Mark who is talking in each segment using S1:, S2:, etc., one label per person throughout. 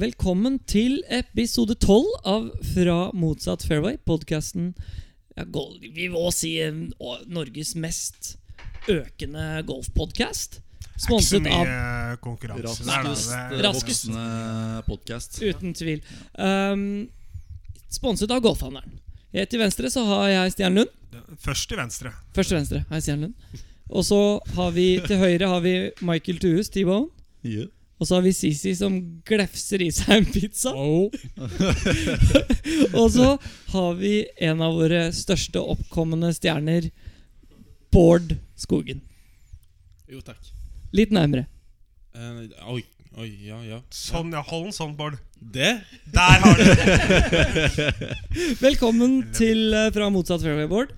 S1: Velkommen til episode 12 av Fra motsatt fairway, podkasten ja, gol- Vi må si eh, å- Norges mest økende golfpodkast.
S2: Det er ikke så
S1: Sponset av
S2: mye konkurranse. der, da.
S3: Raskest eh,
S2: Det er-
S1: Raskest.
S3: voksende podkast.
S1: Uten tvil. Um, sponset av Golfhandleren. Helt til venstre så har jeg Stian Lund.
S2: Først til venstre.
S1: Først til venstre har jeg Stian Lund. Og så har vi til høyre har vi Michael Thues, T-Bone. Og så har vi Sisi som glefser i seg en pizza. og så har vi en av våre største oppkommende stjerner, Bård Skogen.
S4: Jo, takk.
S1: Litt nærmere.
S4: Eh, oi, oi, ja, ja.
S2: Sånn, ja. Hold den sånn, Bård.
S4: Det?
S2: Der har du den!
S1: Velkommen til eh, Fra motsatt fairway, Bård.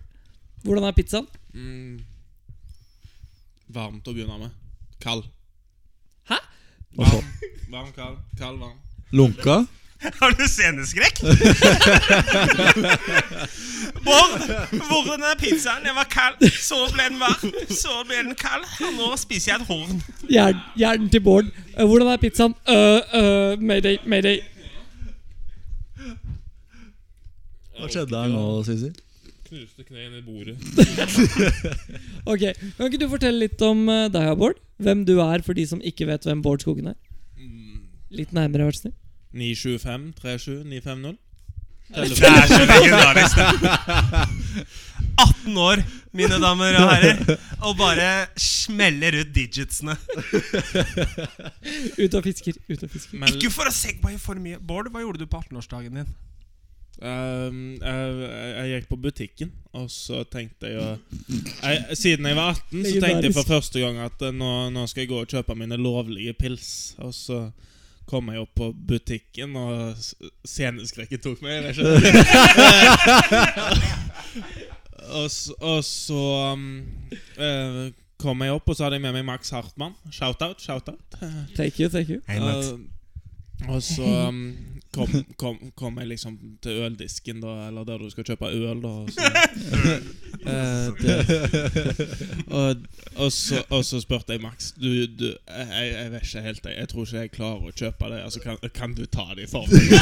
S1: Hvordan er pizzaen?
S4: Mm. Varmt å begynne med. Kald.
S1: Hæ?
S4: Varm, varm kald. Kald, varm.
S3: Lunka?
S2: Har du sceneskrekk? Bård, hvordan er pizzaen? Den var kald, så ble den varm, så ble den kald, og nå spiser jeg et horn.
S1: Hjern, hjernen til Bård. Eh, Hvordan er pizzaen? Øh, øh, mayday, mayday.
S3: Hva skjedde her nå, Sisi?
S4: Knuste knærne i bordet.
S1: Ok, Kan ikke du fortelle litt om eh, deg, Bård? Hvem du er, for de som ikke vet hvem Bård Skogen er? Litt nærmere, vær så snill.
S4: 925 37 950.
S2: Det er så legendarisk. det. 18 år, mine damer og herrer, og bare smeller ut digitsene.
S1: Ut og fisker. ut og fisker
S4: Men
S2: Ikke for å segwaye for mye. Bård, hva gjorde du på 18-årsdagen din?
S4: ehm, jeg, jeg- jeg gikk på butikken, og så tenkte jeg å jeg, Siden jeg var 18, så tenkte jeg for første gang at eh, nå, nå skal jeg gå og kjøpe mine lovlige pils. Og så kom jeg opp på butikken, og s- sceneskrekken tok meg. Jeg vet ikke. og, s- og så um, eh, kom jeg opp, og så hadde jeg med meg Max Hartmann. Shout-out, shout-out.
S1: Thank you, thank you.
S4: Eh, og så um, kom, kom, kom jeg liksom til øldisken, da, eller der du skal kjøpe øl, da. Og så, Eh, det- og, og, så, og så spurte jeg Max du, du, jeg, jeg jeg vet ikke helt, jeg, jeg tror ikke jeg klarer å kjøpe det. Altså, kan, kan du ta det for meg?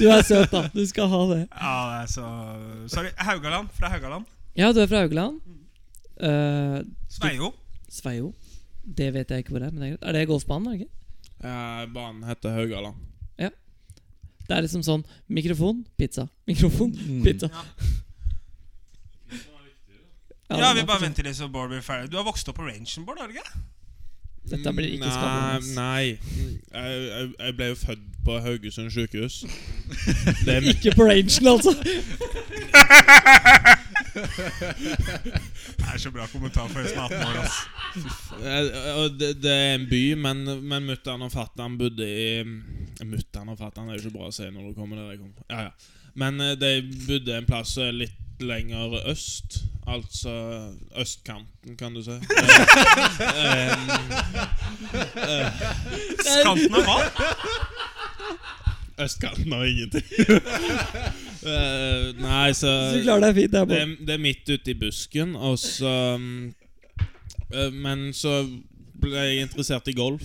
S1: Du er søt, da. Du skal ha det.
S2: Ja, det er så Sorry. Haugaland. Fra Haugaland.
S1: Ja, du er fra Haugland. Eh,
S2: Sveio.
S1: Sveio. Det vet jeg ikke hvor det er. men det Er greit Er det golfbanen? er det ikke?
S4: Eh, banen heter Haugaland.
S1: Det er liksom sånn mikrofon, pizza. Mikrofon, pizza. det
S2: Ja,
S1: er
S2: vi bare
S1: for sent.
S2: venter litt så Bård blir ferdig. Du har vokst opp på rangen, Bård? har du ikke?
S1: Dette blir ikke
S4: Nei,
S1: skandaløst.
S4: nei. Jeg, jeg, jeg ble jo født på Haugesund sykehus. Det er
S1: Ikke på rangen, altså.
S2: Det er så bra kommentar for en som er 18 år. ass.
S4: Eh, og det, det er en by, men, men mutter'n og fatter'n bodde i Mutter'n og fatter'n er jo ikke bra å si når du kommer der jeg kommer fra. Ja, ja. Men eh, de bodde en plass eh, litt lenger øst. Altså østkanten, kan du si. Eh,
S2: Skanten av hva?
S4: eh, østkanten av ingenting. Eh, nei, så
S1: Du klarer deg fint. der,
S4: det,
S1: Bård.
S4: er- det er midt ute i busken, og så mm, eh, Men så ble jeg interessert i golf.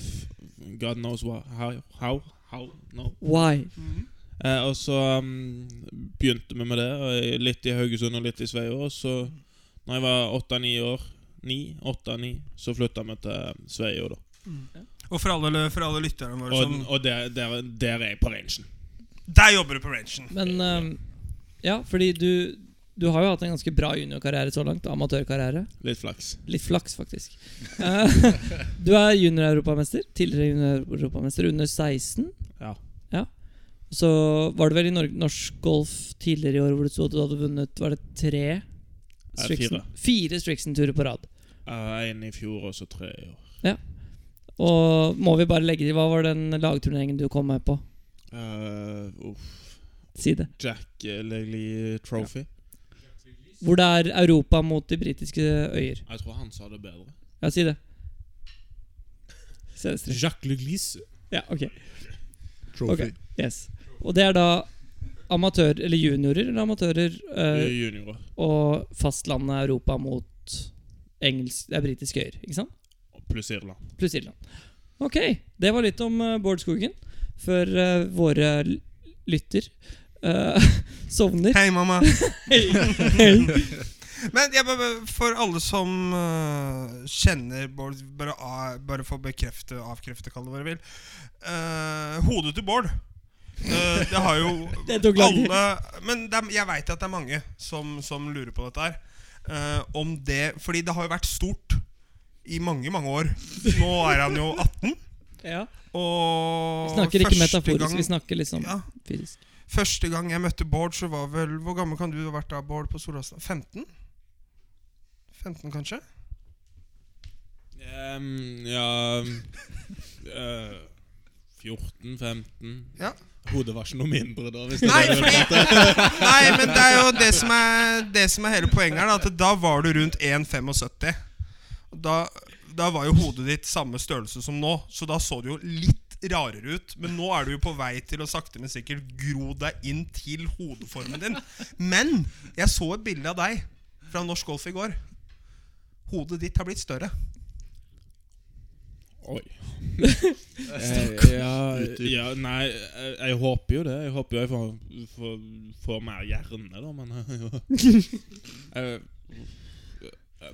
S4: God knows why, how, how, how no.
S1: Why?
S4: Eh, og så mm, begynte vi med det, og jeg- litt i Haugesund og litt i Sveio. Og så, når jeg var åtte-ni år, ni, åtte-ni, så flytta vi til Sveio, da.
S2: Og for alle, for alle lytterne våre
S4: Og,
S2: som
S4: og der, der, der er jeg på rangen.
S2: Der jobber du på rangen.
S1: Men ehm, ja, fordi du du har jo hatt en ganske bra juniorkarriere så langt. Amatørkarriere.
S4: Litt flaks.
S1: Litt flaks, faktisk. Eh, du er junior-europamester. Tidligere junior-europamester under 16.
S4: Ja.
S1: Så var det vel i Nor- norsk golf tidligere i år hvor det sto at du hadde vunnet Var det tre? Strixen- Fire Strixen-turer på rad.
S4: Én Eh, i fjor, og så tre i år.
S1: Og må vi bare legge til Hva var den lagturneringen du kom med på?
S4: Eh, uff.
S1: Si det.
S4: Jack Legley Trophy.
S1: Hvor det er Europa mot de britiske øyer.
S4: Jeg tror han sa det bedre.
S1: Ja, si det. Se det strek.
S4: Jacques Leglise.
S1: Ja, ok. Ok. Yes. Og det er da amatør, eller juniorer eller amatører eh,
S2: Mm.
S4: Juniorer.
S1: og fastlandet Europa mot engelsk, det er britiske øyer. Ikke sant?
S4: Pluss Irland.
S1: Pluss Irland. Ok, det var litt om eh, Bård Skogen. Før eh, våre l- lytter eh, sovner.
S2: Hei, mamma.
S1: Hei.
S2: Men jeg, bare- for alle som øh, kjenner Bård Bare, a- bare for å bekrefte avkrefte, kall det hva du vil. Eh, hodet til Bård. Eh, det har jo
S1: Det tok lang tid.
S2: alle Men det er, jeg veit at det er mange som, som lurer på dette her. Eh, om det Fordi det har jo vært stort i mange, mange år. Nå er han jo 18.
S1: Ja.
S2: Og
S1: Vi snakker ikke
S2: første
S1: metaforisk,
S2: gang-
S1: vi snakker liksom
S2: ja,
S1: fysisk.
S2: Første gang jeg møtte Bård, så var vel Hvor gammel kan du ha vært da, Bård, på Solastad? 15? 15, kanskje?
S4: Ehm, ja eh, 14-15.
S2: Ja.
S4: Hodet var ikke noe mindre da. Hvis det
S2: Nei,
S4: var det.
S2: fordi, nei, men det er jo det som er, det som er hele poenget her, da, at da var du rundt 1,75. Og Da, da var jo hodet ditt samme størrelse som nå, så da så du jo litt rarere ut. Men nå er du jo på vei til å sakte, men sikkert gro deg inn til hodeformen din. Men jeg så et bilde av deg fra norsk golf i går. Hodet ditt har blitt større.
S4: Oi. Eh, ja, ja, nei, jeg, jeg håper jo det. Jeg håper jo jeg får, får, får mer hjerne, da, men Eh,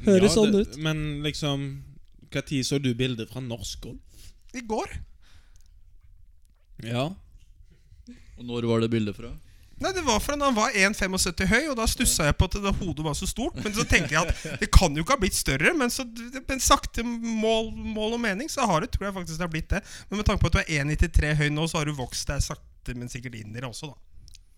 S1: Høres sånn
S4: det-
S1: ut.
S4: Men liksom Når så du bildet fra norsk golf?
S2: I går.
S4: Ja.
S3: Og når var det bildet fra?
S2: Nei, det var fordi han var 1,75 høy, og da stussa jeg på at det hodet var så stort. Men så tenkte jeg at det kan jo ikke ha blitt større, men, så, men sakte mål, mål og mening så har det, tror jeg faktisk det har blitt det. Men med tanke på at du er 1,93 høy nå, så har du vokst deg sakte, men sikkert inn i det også, da.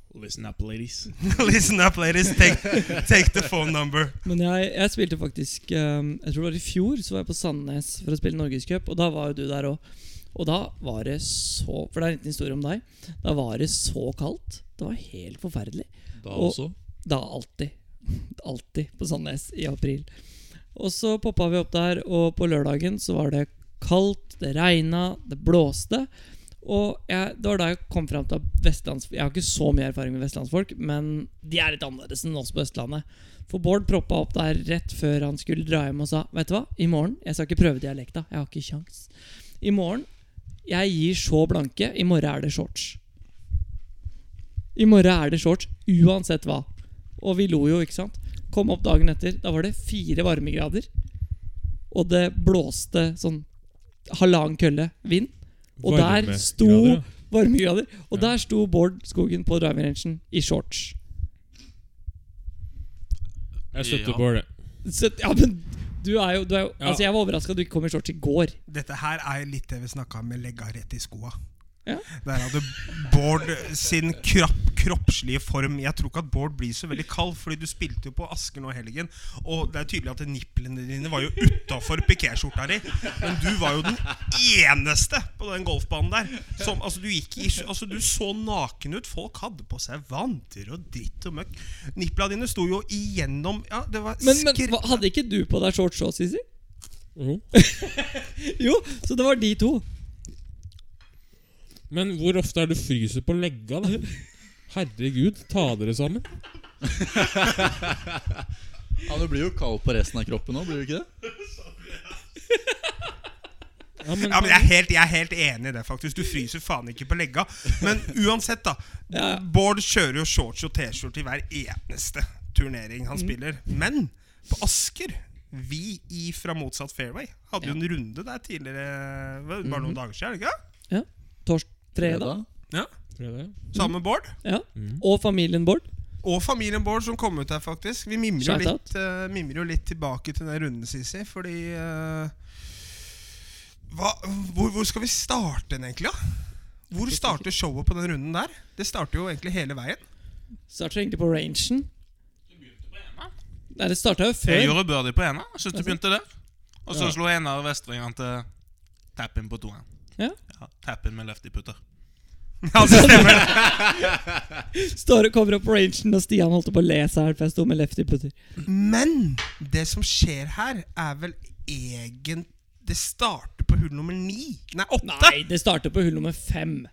S4: Listen up, ladies.
S2: Listen up, ladies. Take, take the phone number.
S1: Men jeg, jeg spilte faktisk ehm, Jeg tror det var i fjor, så var jeg på Sandnes for å spille Norgescup, og da var jo du der òg. Og da var det så For det er en liten historie om deg. Da var det så kaldt. Det var helt forferdelig.
S3: Da
S1: Og-
S3: også?
S1: Da alltid. Alltid på Sandnes i april. Og så poppa vi opp der, og på lørdagen så var det kaldt, det regna, det blåste. Og jeg, det var da jeg kom fram til at vestlands... Jeg har ikke så mye erfaring med vestlandsfolk, men de er litt annerledes enn oss på Østlandet. For Bård proppa opp der rett før han skulle dra hjem og sa Vet du hva, i morgen Jeg skal ikke prøve dialekta. Jeg har ikke kjangs. I morgen Jeg gir så blanke. I morgen er det shorts. I morgen er det shorts uansett hva. Og vi lo jo, ikke sant? Kom opp dagen etter. Da var det fire varmegrader. Og det blåste sånn halvannen kølle vind. Og der sto
S5: Varmegrader,
S1: varmegrader. Og der sto Bård Skogen på driving-rangen i shorts.
S5: Jeg støtter
S6: Ja.
S5: Bård.
S1: Så, ja, men du er jo, du er jo
S5: Ja.
S1: Altså, jeg var overraska du ikke kom i shorts i går.
S2: Dette her er litt det vi snakka om med legga rett i skoa.
S1: Ja.
S2: Der hadde Bård sin kropp, kroppslige form. Jeg tror ikke at Bård blir så veldig kald, Fordi du spilte jo på Asker nå i helgen. Og det er tydelig at niplene dine var jo utafor pikéskjorta di. Men du var jo den eneste på den golfbanen der. Som, altså, du, gikk i, altså, du så naken ut. Folk hadde på seg vanter og dritt og møkk. Nipla dine sto jo igjennom ja, det var
S1: Men, men
S2: skre-
S1: hva- hadde ikke du på deg shorts òg, Sisi? Mhm. jo, så det var de to.
S5: Men hvor ofte er det du fryser på legga, da? Herregud, ta dere sammen.
S3: Ja, Du blir jo kald på resten av kroppen òg, blir du ikke det?
S5: Ja, men,
S2: Ja, men jeg er, helt, jeg er helt enig i det, faktisk. Du fryser faen ikke på legga. Men uansett, da.
S1: Ja.
S2: Bård kjører jo shorts og T-skjorte i hver eneste turnering
S1: Mm.
S2: han spiller. Men på Asker vi i fra motsatt fairway hadde jo en runde der tidligere Bare
S1: Mhm.
S2: noen dager siden, er det ikke?
S1: Tors fredag.
S5: Tror jeg det.
S2: Sammen med Bård.
S1: Ja. Og familien Bård.
S2: Og familien Bård som kom ut her, faktisk. Vi mimrer jo,
S1: Shout out.
S2: litt, eh, mimrer jo litt tilbake til den runden, Sisi, fordi eh, hva, hvor, hvor skal vi starte den, egentlig? da? Hvor starter showet på den runden der? Det starter jo egentlig hele veien.
S1: Starter egentlig på rangen. Nei, det starta jo
S6: Jeg
S1: før.
S6: gjorde birdie på ena. Jeg synes du begynte der. Og så slo ena av Vestringen til tap-in på toeren.
S1: Ja.
S6: tap-in med lefty putter.
S2: Ja, det stemmer det.
S1: Står og kommer opp på rangen, og Stian holdt på å le seg her, for jeg sto med lefty putter.
S2: Men det som skjer her, er vel egentlig Det starter på hull nummer ni. Nei, åtte!
S1: Nei, det starter på hull nummer fem.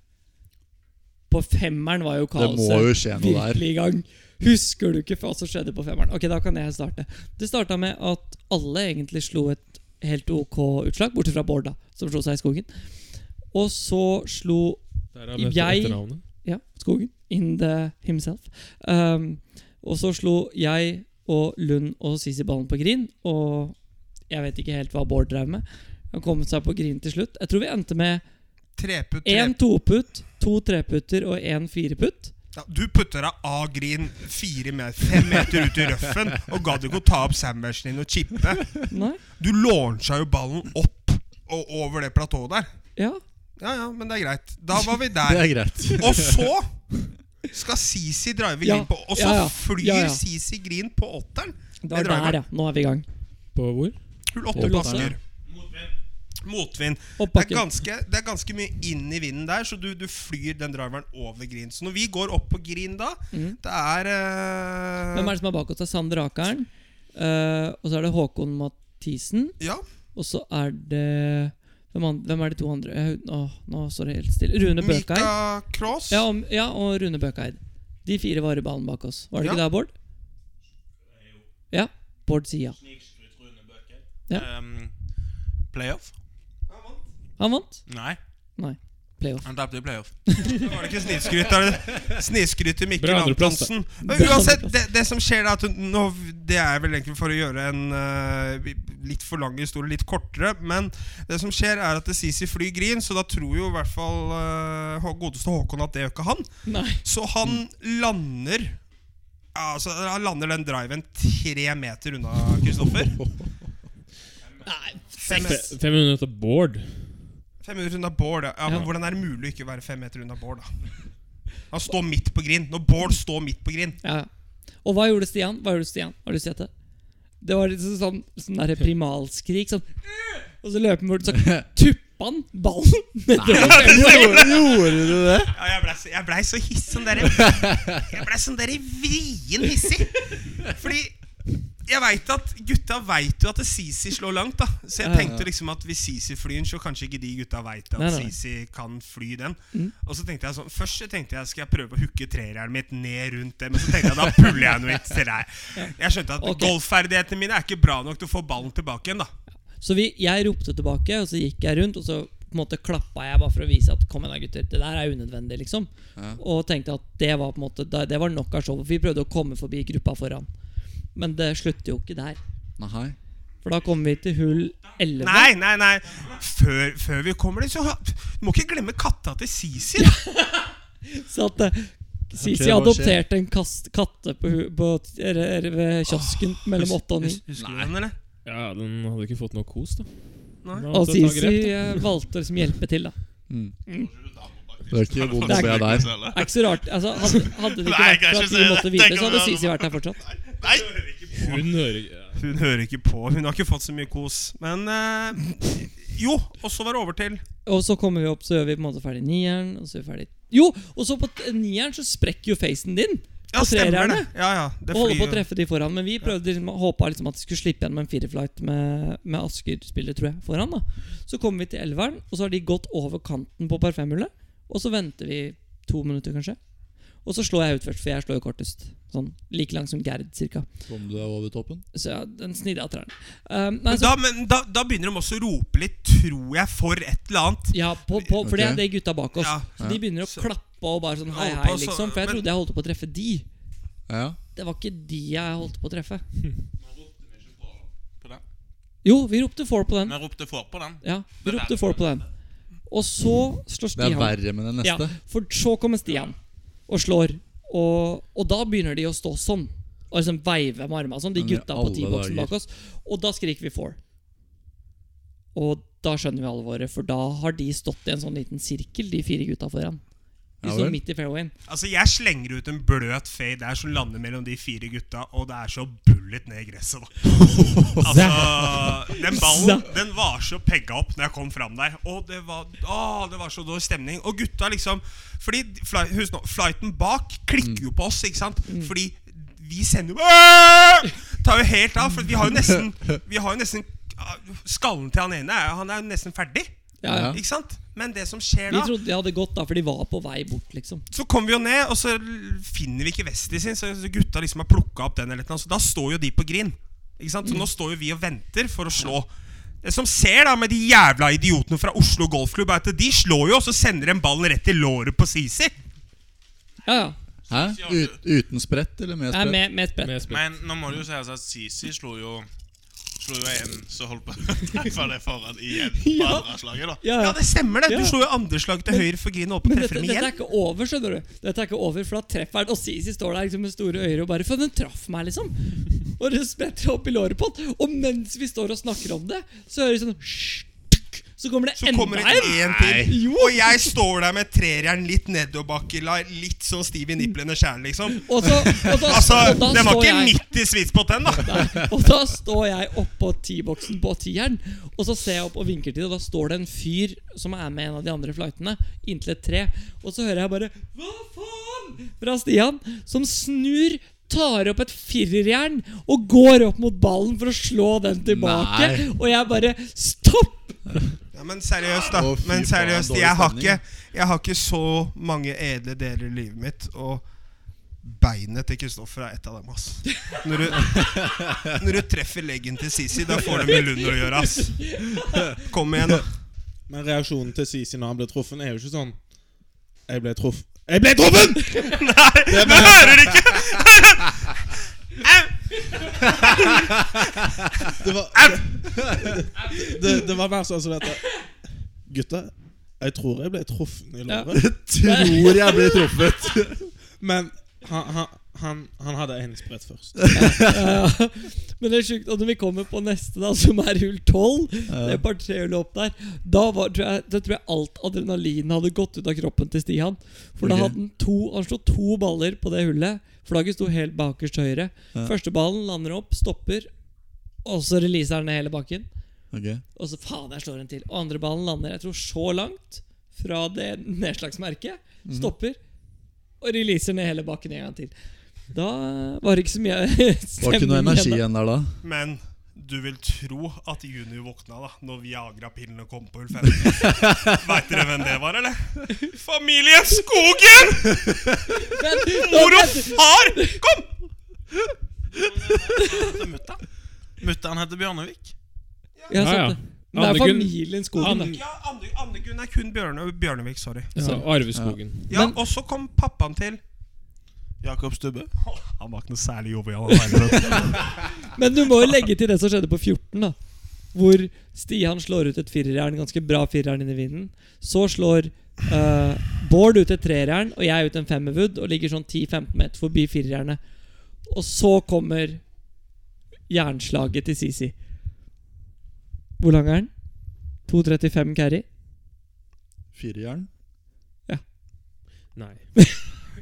S1: På femmeren var jo kaoset
S3: må jo skje noe der.
S1: virkelig i gang. Husker du ikke hva som skjedde på femmeren? Ok, da kan jeg starte. Det starta med at alle egentlig slo et helt ok utslag, bortsett fra Bård, da, som slo seg i skogen. Og så slo
S5: Derav
S1: Jeg-
S5: etter- etternavnet.
S1: ja, skogen. In the himself. Um, og så slo jeg og Lund og Sisi ballen på green, og jeg vet ikke helt hva Bård drev med. Han kom seg på green til slutt. Jeg tror vi endte med
S2: Treputt,
S1: én
S2: treputt.
S1: toputt, to treputter og én fireputt.
S2: Ja, Du putter deg av green fire me- fem meter ut i røffen og gadd ikke å ta opp sandwichen din og chippe.
S1: Nei?
S2: Du launcha jo ballen opp og over det platået der.
S1: Ja.
S2: Ja, ja, men det er greit. Da var vi
S3: Det
S2: der.
S3: er greit.
S2: Og så skal Sisi drive
S1: Ja,
S2: green på Og så
S1: ja, ja.
S2: flyr
S1: Ja, ja.
S2: Sisi green på åtteren.
S1: Det var
S2: Det drar
S1: der, ja. Nå er vi i gang.
S5: På hvor?
S2: Hull åtte på
S1: Åtteren.
S2: Asker. Motvind.
S1: Opp
S2: Det er,
S1: bakken.
S2: ganske, det er ganske mye inn i vinden der, så du, du flyr den driveren over green. Så når vi går opp på green da,
S1: Mhm.
S2: det er eh,
S1: Hvem er det som er bak oss? Det er Sander Akeren. eh, og så er det Håkon Mathisen.
S2: Ja,
S1: Og så er det Hvem, an, hvem er de to andre? Jeg, åh, nå står det helt stille. Rune Bøkei.
S2: Mika Cross.
S1: Ja, og, ja, og Rune Bøkeid. De fire var i ballen bak oss. Var det ikke
S2: Ja.
S1: der, Bård? Ja. Bård sier ja. Ja.
S6: Ehm, playoff?
S1: Han vant.
S6: Nei,
S1: Playoff.
S6: han tapte i playoff.
S2: Det var det ikke sniskryt, er det sniskryt til Mikkel
S5: Bra andreplass,
S2: Antonsen. Men
S1: Bra
S2: uansett,
S1: andreplass.
S2: det, det som skjer da, at hun- nå, det er vel egentlig for å gjøre en eh, litt for lang historie litt kortere, men det som skjer er at Sisi flyr green, så da tror jo i hvert fall eh, Hå- godeste Håkon at det gjør ikke han.
S1: Nei.
S2: Så han lander ja, Altså, han lander den driven tre meter unna Kristoffer. Fem,
S5: Fe- Fem minutter Bård.
S2: fem meter unna Bård, ja. ja.
S1: Ja.
S2: Men hvordan er det mulig å ikke være fem meter unna Bård, da? Han står midt på grind. Når Bård står midt på grind
S1: Ja. ja. Og hva gjorde Stian? Hva gjorde Stian? Har du sett det? Det var litt sånn, sånn der primalskrik. Sånn Og så løp han bort, så tuppa han ballen nedover.
S3: Gjorde, gjorde du det?
S2: Ja, jeg blei så, jeg ble så hiss som dere Jeg blei sånn dere vrien hissig. Fordi jeg vet at gutta veit jo at Sisi slår langt, da. Så jeg
S1: Ja, ja,
S2: tenkte liksom at hvis Sisi flyr den, så kanskje ikke de gutta veit
S1: Nei,
S2: at
S1: nei, nei.
S2: Sisi kan fly den.
S1: Mm.
S2: Og så tenkte jeg sånn Først så tenkte jeg skal jeg prøve å hooke trerjernet mitt ned rundt det, men så tenkte jeg da puller jeg noe i tre. Jeg skjønte at
S1: Ok.
S2: golfferdighetene mine er ikke bra nok til å få ballen tilbake igjen, da.
S1: Så vi, jeg ropte tilbake, og så gikk jeg rundt, og så på en måte klappa jeg bare for å vise at kom igjen da, gutter, det der er unødvendig, liksom. Og tenkte at det var på en måte da- Det var nok av show. for Vi prøvde å komme forbi gruppa foran. Men det slutter jo ikke der.
S3: Nei.
S1: For da kommer vi til hull 11.
S2: Nei, nei, nei. Før, før vi kommer dit, så ha- Du må ikke glemme katta til Sisi. da.
S1: Så at eh, Sisi
S3: Ok, hva
S1: adopterte en kast, katte på, hu- på, eller- eller ved kiosken mellom åtte og ni.
S2: Hus- Husker du den, eller?
S5: Ja, den hadde ikke fått noe kos, da.
S2: Nei.
S5: Den hadde
S1: Og
S5: fått noe
S1: Sisi
S5: grep, da.
S1: eh, valgte liksom hjelpe til, da.
S3: Det er ikke vond
S1: Det er
S3: be der.
S1: Det er ikke så rart. Altså, hadde, hadde det ikke
S6: Nei,
S1: vært for
S6: kanskje
S1: at vi
S6: så-
S1: måtte videre,
S6: tenk
S1: så
S6: om
S1: hadde
S6: det
S1: Sisi vært her fortsatt.
S6: Nei!
S5: Hun hører ikke ja.
S2: Hun hører ikke på. Hun har ikke fått så mye kos. Men eh, jo, og så var det over til
S1: Og så kommer vi opp, så gjør vi på en måte ferdig nieren. Og så gjør vi ferdig Jo, og så på t- nieren så sprekker jo facen din.
S2: Ja,
S1: Og
S2: stemmer det.
S1: trererne.
S2: Ja, ja, det
S1: Og holder
S2: flyr
S1: på å
S2: jo.
S1: treffe de foran. Men vi prøvde liksom, håpa liksom at de skulle slippe gjennom en fireflight med, med Asker-spillere, tror jeg, foran. da Så kommer vi til elveren, og så har de gått over kanten på parfymehullet. Og så venter vi to minutter, kanskje. Og så slår jeg ut først, for jeg slår jo kortest. Sånn like lang som Gerd, cirka.
S3: Kom du deg over toppen?
S1: Så ja, den snidde jeg av trærne. Um, nei,
S2: Men,
S1: så-
S2: da, men da, da begynner de også å rope litt, tror jeg, for et eller annet.
S1: Ja, på, på, for det er det gutta bak oss.
S2: Ja.
S1: Så De begynner å
S2: Så-
S1: klappe og bare sånn hei,
S2: Holder på
S1: hei,
S2: så-
S1: liksom. For jeg
S2: men-
S1: trodde jeg holdt på å treffe de.
S3: Ja.
S1: Det var ikke de jeg holdt på å treffe.
S6: På den.
S1: Jo, vi ropte four på den.
S6: Vi ropte for på den.
S1: Ja, vi
S6: Det er
S1: ropte
S6: verre.
S1: four på den. Og så slår
S3: Det er
S1: Stian.
S3: verre med den
S1: Ja,
S3: neste.
S1: for så kommer Stian og slår. Og, og da begynner de å stå sånn. Og liksom veive med armene og sånn, de
S3: Men i
S1: gutta på
S3: alle
S1: T-boksen
S3: dager.
S1: bak oss. Og da skriker vi four. Og da skjønner vi alvoret, for da har de stått i en sånn liten sirkel, de fire gutta foran. De
S3: Ja
S1: står
S3: vel.
S1: midt i fairwayen.
S2: Altså, Jeg slenger ut en bløt fade der som lander mellom de fire gutta, og det er så bullet ned i gresset, da. Altså, Den ballen den var så pegga opp når jeg kom fram der. Og det var, å, det var så dårlig stemning. Og gutta liksom Fordi fly, husk nå, flighten bak klikker jo på oss, ikke sant? Fordi vi sender jo Åh! Tar jo helt av. For vi har jo nesten Vi har jo nesten ah, Skallen til han ene er- Han er jo nesten ferdig,
S1: Ja, ja.
S3: Ja.
S2: ikke sant? Men det som skjer
S1: Vi
S2: da
S1: trodde de hadde gått, da, for de var på vei bort, liksom.
S2: Så kommer vi jo ned, og så l- finner vi ikke Vestli sin. Så så gutta liksom har plukka opp den, eller noe, så da står jo de på grin. Ikke sant? Så nå står jo vi og venter for å slå. Det som ser da med de jævla idiotene fra Oslo Golfklubb, er at de slår jo, og så sender en ball rett i låret på Sisi.
S1: Ja, ja.
S3: Hæ? Ut, uten sprett eller med
S1: Det er
S3: sprett?
S1: med, med et brett.
S5: Med spill.
S6: Men nå må det jo sies at Sisi slo jo Slo jo en som holdt på å treffe det foran igjen på
S1: Ja.
S6: andre slaget, da.
S1: Ja,
S2: Ja,
S1: ja.
S2: det stemmer, det.
S1: Ja.
S2: Du slo jo andre slag til høyre for Green og åpen
S1: Men
S2: treffer
S1: dette,
S2: dem
S1: dette er
S2: igjen.
S1: ikke over, skjønner du. Dette er ikke over, for da treffer han, og Sisi står der liksom med store øyne og bare For den traff meg, liksom. Og det spretter opp i låret på han. Og mens vi står og snakker om det, så hører vi sånn «Sj, tuk», Så kommer det
S2: Så kommer
S1: enda
S2: det
S1: en.
S2: en til. Og jeg står der med trejern litt nedoverbakke, la- litt sånn stiv i niplene sjæl, liksom.
S1: Og så, og da,
S2: Altså,
S1: og da
S2: den var
S1: står
S2: ikke
S1: jeg-
S2: midt i sweet spot, den, da.
S1: Og da står jeg oppå T-boksen på tieren, og så ser jeg opp og vinker til det, og da står det en fyr som er med en av de andre flightene, inntil et tre, og så hører jeg bare Hva faen? fra Stian, som snur Tar opp et firerjern og går opp mot ballen for å slå den tilbake.
S3: Nei.
S1: Og jeg bare Stopp!
S2: Ja, men seriøst, da.
S3: Å, fy
S2: Men
S3: faen,
S2: seriøst,
S3: dårlig
S2: jeg har
S3: stemning.
S2: ikke, jeg har ikke så mange edle deler i livet mitt. Og beinet til Kristoffer er et av dem, ass. Når du, når du treffer leggen til Sisi, da får du med Lund å gjøre, ass. Kom igjen, da.
S4: Men reaksjonen til Sisi når han ble truffet, er jo ikke sånn Jeg ble truffet. Jeg ble truffet!
S2: Det hører du ikke!
S4: Det var, det, det, det var mer sånn som dette. Gutta, jeg tror jeg ble truffet i låret.
S3: Tror jeg blir truffet.
S4: Men han, han, han, han hadde eningsbrett først.
S1: Ja. Men det er sjukt. Og når vi kommer på neste, da som er hull 12 Det er par trehullet opp der. Da var, tror, jeg, da tror jeg alt adrenalinet hadde gått ut av kroppen til Stian. For da
S3: Ok.
S1: hadde han to Han slo to baller på det hullet. Flagget sto helt bakerst til høyre. Første ballen lander opp, stopper, og så releaser han ned hele bakken.
S3: Ok
S1: Og så faen, jeg slår en til. Og andre ballen lander jeg tror så langt fra det nedslagsmerket.
S3: Mhm.
S1: Stopper og releaser ned hele bakken en gang til. Da var det ikke så mye
S3: Var ikke noe
S1: stemning
S3: energi
S1: igjen da.
S3: igjen der da?
S2: Men du vil tro at Junior våkna da Når Viagra-pillene kom på hull 15. Veit dere hvem det var, eller? Familien Skogen!
S1: Men,
S2: Mor og far! Kom!
S6: Mutter'n heter Bjørnevik.
S1: Ja,
S5: Ja, ja.
S1: sant det. Men det er
S5: Andegunn-
S1: familien Skogen, da.
S5: Anne-
S2: Ja, Anne, Anne Gunn er kun Bjørne, Bjørnevik. Sorry.
S5: Ja, Arveskogen.
S2: Ja,
S1: Men-
S2: Og så kom pappaen til.
S6: Jakob Stubbe.
S2: Han var ikke noe særlig jovial. han heller.
S1: Men du må jo legge til det som skjedde på 14, da. Hvor Stian slår ut et firerjern, ganske bra firerjern inn i vinden. Så slår eh, Bård ut et trerjern, og jeg ut en femmerwood, og ligger sånn 10-15 meter forbi firerjernet. Og så kommer jernslaget til Sisi. Hvor lang er den? 2,35 carry?
S3: Firejern?
S5: Nei.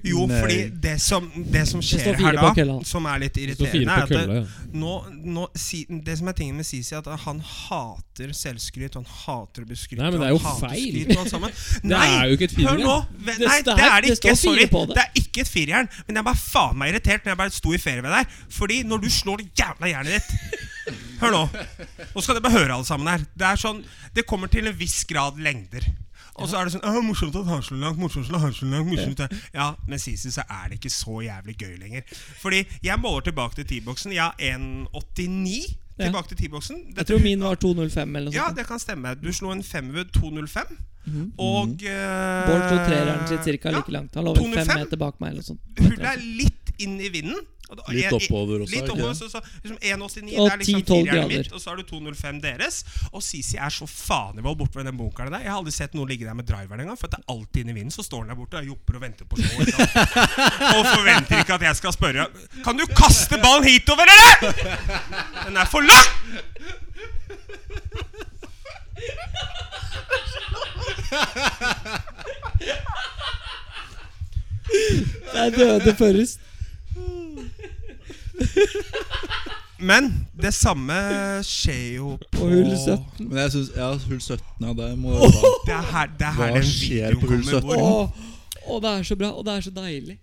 S2: Jo,
S3: Nei.
S2: fordi det som, det som skjer
S1: står fire
S2: her
S1: bak
S2: da,
S1: kølla.
S2: som er litt
S5: Det står fire
S2: irriterende, er
S5: på
S2: at
S5: kølla.
S2: det,
S5: ja.
S2: nå, nå, si- det som er tingen med Sisi, er at han hater selvskryt. Han hater å bli skrytt.
S5: Nei, men det er
S2: han
S5: jo
S2: hater
S5: feil.
S2: skryt og alt sammen.
S5: Det
S2: Nei,
S5: er jo ikke et
S2: Hør nå!
S5: firehjul.
S2: Ve-
S1: Det
S2: Nei,
S1: står-
S2: det er det
S1: det
S2: ikke.
S1: står
S2: Sorry.
S1: fire på det.
S2: Det er ikke et firejern. Men jeg var faen meg irritert når jeg bare sto i ferie ved deg. Fordi når du slår det jævla jernet ditt Hør nå. Nå skal dere bare høre, alle sammen her. Det er sånn Det kommer til en viss grad lengder. Og så er det sånn «Åh, 'Morsomt at han slår langt, morsomt at han slår langt' morsomt at... Ja, men Sisi, så er det ikke så jævlig gøy lenger. Fordi jeg måler tilbake til T-boksen. Jeg har 1,89
S1: Ja.
S2: tilbake til T-boksen.
S1: Jeg tror min var 2,05 eller noe
S2: Ja,
S1: sånt.
S2: det kan stemme. Du slo en femwood 205. Og eh,
S1: Mhm. Bård slo trerjern sitt cirka like langt. Han lå vel fem
S2: 205.
S1: meter bak meg eller noe sånt.
S2: Hullet er litt inn i vinden. Og da-
S3: Litt
S2: jeg-
S3: oppover også,
S2: Litt
S3: er det ikke
S2: oppover,
S3: det?
S2: så, så, liksom 1,89
S1: Og
S2: det er liksom
S1: 10-12
S2: firehjernen
S1: grader.
S2: mitt, Og så er du 2,05 deres. Og Sisi er så fanevold borte ved den bunkeren der. Jeg har aldri sett noen ligge der med driveren engang, for det er alltid inn i vinden. Så står han der borte og jopper og venter på show. ikke sant? Og forventer ikke at jeg skal spørre Kan du kaste ballen hitover, eller?! Den er for lang!
S1: Det er døde først.
S2: Men det samme skjer jo på
S1: Og liksom, hull 17.
S3: Men jeg syns Ja, hull 17, ja, det må
S2: Det er her, det er her
S3: Hva
S2: den
S3: skjer
S2: videoen
S3: på hull
S2: kommer,
S3: 17?
S2: hvor-
S1: Åh, åh, det er så bra, og det er så deilig.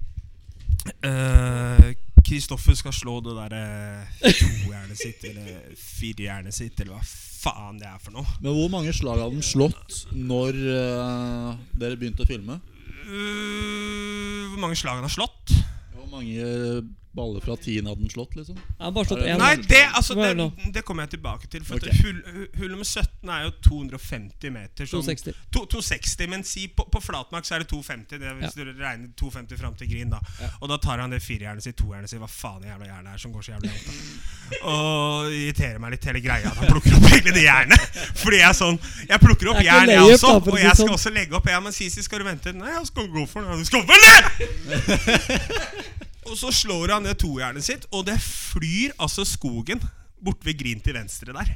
S2: Eh, Kristoffer skal slå det derre tohjernet sitt, eller firehjernet sitt, eller hva faen det er for noe.
S3: Men hvor mange slag hadde den slått når eh, dere begynte å filme?
S2: Uh, hvor mange slag han har slått?
S3: Hvor mange Baller fra tiden hadde den slått, liksom?
S1: Jeg har bare slått én.
S2: Nei, det, altså,
S1: Hva er det
S2: det,
S1: nå?
S2: det kommer jeg tilbake til. For
S3: Ok.
S2: at hull, hu- hull nummer 17 er jo 250 meter. Sånn,
S1: 260.
S2: To- 260, men si på, på flatmark så er det 250. Det, er hvis du regner 250 fram til Green, da. Og da tar han det firejernet sitt, tojernet sitt, hva faen det jævla jernet er som går så jævlig langt. da. Og det irriterer meg litt hele greia at han plukker opp hele det jernet. Fordi jeg er sånn Jeg plukker opp
S1: Det er ikke
S2: jern, jeg
S1: layup,
S2: også,
S1: da, for å
S2: og
S1: si
S2: jeg skal
S1: sånn.
S2: også legge opp. Ja, men Sisi, skal du vente? Nei, jeg skal gå for den. Du skal vel ned! Og så slår han det tojernet sitt, og det flyr altså skogen bort ved Grin til venstre der.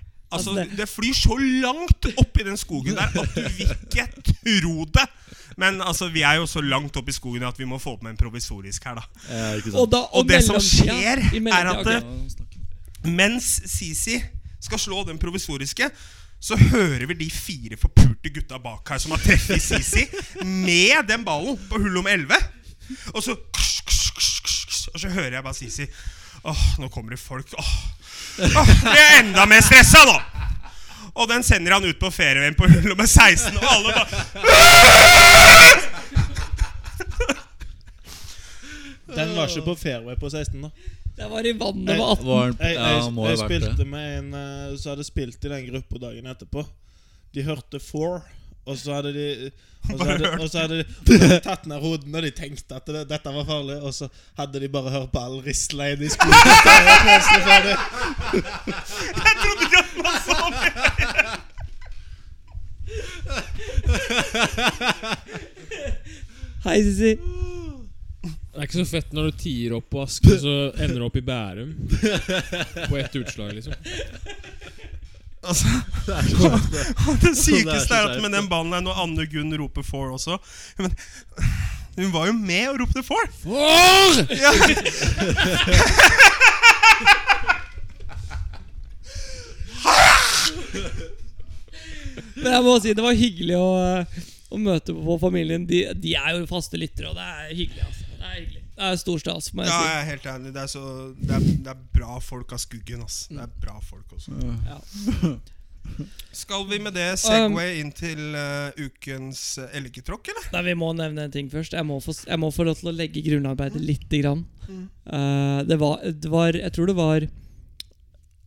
S1: Altså,
S2: Altså,
S1: det-
S2: Det flyr så langt oppi den skogen der at du vil ikke tro det. Men altså, vi er jo så langt oppi skogen at vi må få opp med en provisorisk her, da.
S3: Eh, ikke sant?
S1: Og, da,
S2: Og det som
S1: mellomtida-
S2: skjer,
S1: i
S2: er
S1: mellomtida-
S2: at
S1: ok.
S2: det, mens Sisi skal slå den provisoriske, så hører vi de fire forpulte gutta bak her som har treffet Sisi, med den ballen på hull om 11. Og så ksh, ksh, ksh, ksh, ksh, Og så hører jeg bare Sisi. Åh, nå kommer det folk. Åh, åh blir jeg enda mer stressa nå! Og den sender han ut på ferien på hull nummer 16, og alle bare
S4: Den var ikke på fairway på 16, da.
S1: Det var i vannet
S4: Jeg-
S1: med 18.
S3: Var den,
S4: Jeg,
S3: ja,
S4: jeg,
S3: må
S4: jeg
S3: ha vært
S4: spilte
S3: det.
S4: med en eh, som hadde spilt i den gruppa dagen etterpå. De hørte Four, og så hadde de og så hadde, og så hadde de og så hadde de tatt ned hodene, og de tenkte at det, dette var farlig. Og så hadde de bare hørt ballen risle inn i skolen. Da var pølsene ferdig.
S2: Jeg trodde ikke at man sa det!
S1: Hei, Sisi.
S5: Det er ikke så fett når du tier opp på Asker, så ender du opp i Bærum. På ett utslag, liksom.
S2: Altså,
S3: Det er så-
S2: Det
S3: Det er
S2: sykeste
S3: så
S2: er at
S3: teit.
S2: med den ballen der når Anne Gunn roper four også men, Hun var jo med og ropte four! Ja.
S1: Men jeg må si det var hyggelig å, eh, å møte på familien. De, de er jo faste lyttere, og det er hyggelig. altså Det er, hyggelig. Det er stor stas, må jeg
S2: ja, jeg
S1: si.
S2: er helt enig. Det er, så, det er, det er bra folk av skuggen. Ass. Det er bra folk også.
S1: Ja.
S2: Skal vi med
S1: Um,
S2: det segway inn til eh, ukens eh, elgetråkk, eller?
S1: Nei, Vi må nevne en ting først. Jeg må få, jeg må få lov til å legge grunnarbeidet lite grann. Eh, det, var, det var Jeg tror det var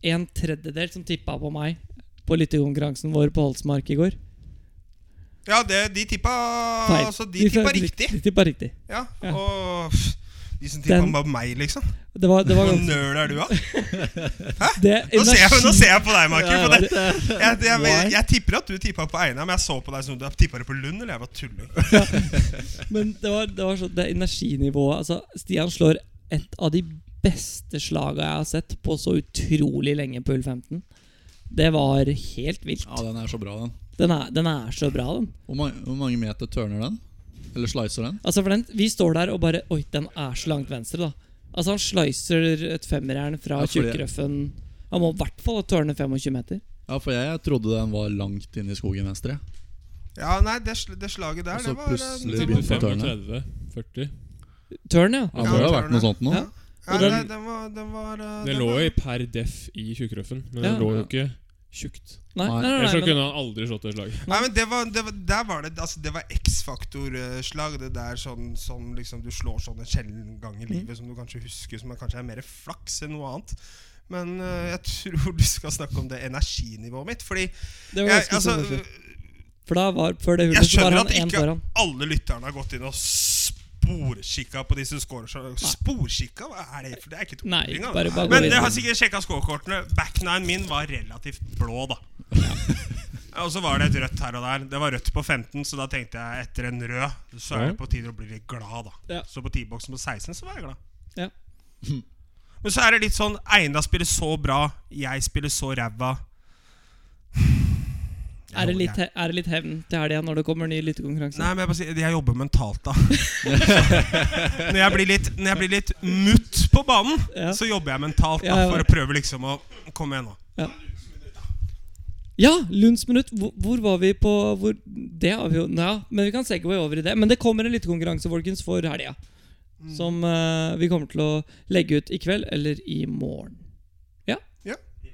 S1: en tredjedel som tippa på meg på lyttekonkurransen vår på Holsmark i går.
S2: Ja, det, de tippa
S1: Feil.
S2: Altså, de tippa
S1: de-
S2: riktig.
S1: De tippa riktig.
S2: Ja,
S1: Ja.
S2: Og pff, de som tippa
S1: Den-
S2: bare meg, liksom.
S1: Det var, det var
S2: Hvor
S1: ganske
S2: nøl er du, da?
S1: det,
S2: Nå ser jeg, nå ser jeg på deg, Marker. for det-
S1: det,
S2: Jeg, jeg, jeg, jeg tipper at du tippa på Einar, men jeg så på deg som du tippa det på Lund, eller jeg var tulling.
S1: Men det var, det var så, det energinivået altså, Stian slår et av de beste slaga jeg har sett på så utrolig lenge på Ull 15. Det var helt vilt.
S3: Ja, den er så bra, den.
S1: Den er, den er så bra, den.
S3: Hvor mange, hvor mange meter turner den? Eller slicer den?
S1: Altså for den, Vi står der og bare Oi, den er så langt venstre, da. Altså Han slicer et femmerjern fra
S3: Ja, fordi-
S1: tjukkrøffen Han må i hvert fall tørne 25 meter.
S3: Ja, for jeg trodde den var langt inne i skogen venstre.
S2: Ja, nei, det, sl- det slaget der,
S3: Og så
S2: det var eh,
S3: plutselig
S2: det var-
S3: begynte-
S5: 35, 40.
S1: Tørn, ja.
S3: Ja, det må jo ha vært noe sånt nå.
S1: Ja.
S2: Ja,
S1: Og den-
S2: nei, den var, den var eh,
S5: Den
S2: den
S5: lå
S2: var-
S5: i per def i tjukkrøffen, men
S1: Ja.
S5: den lå jo ikke tjukt.
S1: Nei, nei,
S3: Nei,
S1: nei,
S5: Ellers
S1: Mm.
S5: så
S1: nei, men,
S5: kunne han aldri slått det slaget.
S2: Nei, men det var, det var, Der var det altså det var X-faktor-slag. Det der sånn som liksom du slår sånn en sjelden gang i livet som du kanskje husker, som er- kanskje er mer flaks enn noe annet. Men eh, jeg tror du skal snakke om det energinivået mitt. Fordi
S1: det var
S2: jeg,
S1: ganske
S2: altså,
S1: sånn, For da var før det
S2: jeg
S1: hullet så var
S2: skjønner
S1: han
S2: at
S1: én
S2: ikke
S1: foran.
S2: alle lytterne har gått inn og sporkikka på disse scorene. Sporkikka? Hva er det for Det er ikke et
S1: Nei,
S2: ord engang.
S1: bare, bare gå
S2: Men
S1: videre.
S2: dere har sikkert sjekka scorekortene. Backnine min var relativt blå, da. Og så var det et rødt her og der. Det var rødt på 15, så da tenkte jeg etter en rød, så er det på tide å bli litt glad, da.
S1: Ja.
S2: Så på T-boksen på 16 så var jeg glad.
S1: Ja.
S2: Men så er det litt sånn Einar spiller så bra, jeg spiller så ræva.
S1: Er det, litt, he- er det litt hevn til helga når det kommer ny lyttekonkurranse?
S2: Nei, men jeg, bare sier, jeg jobber mentalt, da. når, jeg blir litt, når jeg blir litt mutt på banen,
S1: Ja.
S2: så jobber jeg mentalt da,
S1: Ja, ja.
S2: for å prøve liksom å Kom igjen, nå.
S1: Ja, Lunds minutt. Hvor, hvor var vi på hvor, Det har vi jo Ja, men vi kan segway over i det. Men det kommer en lyttekonkurranse, folkens, for helga.
S2: Mm.
S1: Som eh, vi kommer til å legge ut i kveld eller i morgen.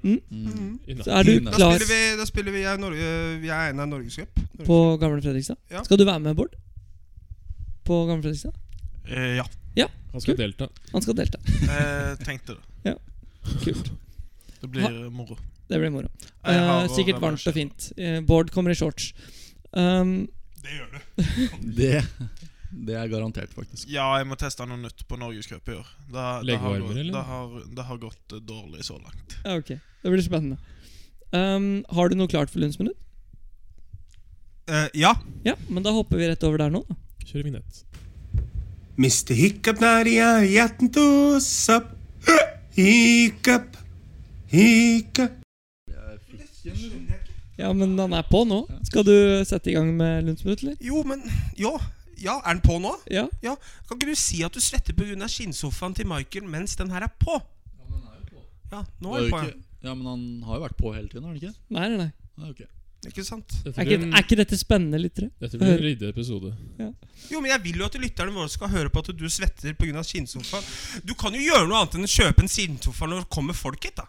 S3: Mm.
S1: Så er du
S3: Da
S2: Da
S1: klar
S2: spiller vi, da spiller vi jeg, er Norge, jeg er Einar Norgescup.
S1: på Gamle Fredrikstad?
S2: Ja.
S1: Skal du være med, Bård? På Gamle Fredrikstad?
S2: Eh, ja.
S1: Ja,
S5: Han skal delta.
S1: han skal delta.
S6: Jeg Eh, tenkte det.
S1: Kult.
S6: Det blir moro.
S1: Det blir moro.
S6: Jeg har
S1: Eh,
S6: å
S1: sikkert
S6: være med
S1: varmt og fint. Eh, Bård kommer i shorts. Um,
S2: Det gjør du.
S3: Det, det er garantert, faktisk.
S6: Ja, jeg må teste noe nytt på Norgescup i år. Det, det, har,
S5: Leggevarmer, eller?
S6: det, har, det har gått eh, dårlig så langt.
S1: ja, ok, Det blir spennende. Um, har du noe klart for Lunsjminutt?
S2: Eh, ja.
S1: Ja, men da hopper vi rett over der nå. da.
S5: Kjør vignett.
S2: Mr. Hiccup Naria, hjerten to sup. Hiccup, hiccup.
S1: Ja, men han er på nå. Skal du sette i gang med Lunsjminutt, eller?
S2: Jo, men Jo. Ja, er den på nå?
S1: Ja.
S2: Ja. Kan ikke du si at du svetter pga. skinnsofaen til Michael mens den her er på? Ja, nå
S3: Var
S2: er
S3: jo
S2: den på.
S3: ikke, ja, men han har jo vært på hele tiden, har han ikke?
S1: Nei, nei, nei.
S3: Ja, ok.
S2: Ja. Ikke sant?
S5: Dette
S1: Er
S5: blir
S1: ikke,
S5: en,
S1: er ikke dette spennende, lyttere?
S5: dette blir en ryddeepisode.
S2: Jo, men jeg vil jo at lytterne våre skal høre på at du svetter pga. skinnsofaen. Du kan jo gjøre noe annet enn å kjøpe en skinnsofa når det kommer folk hit, da.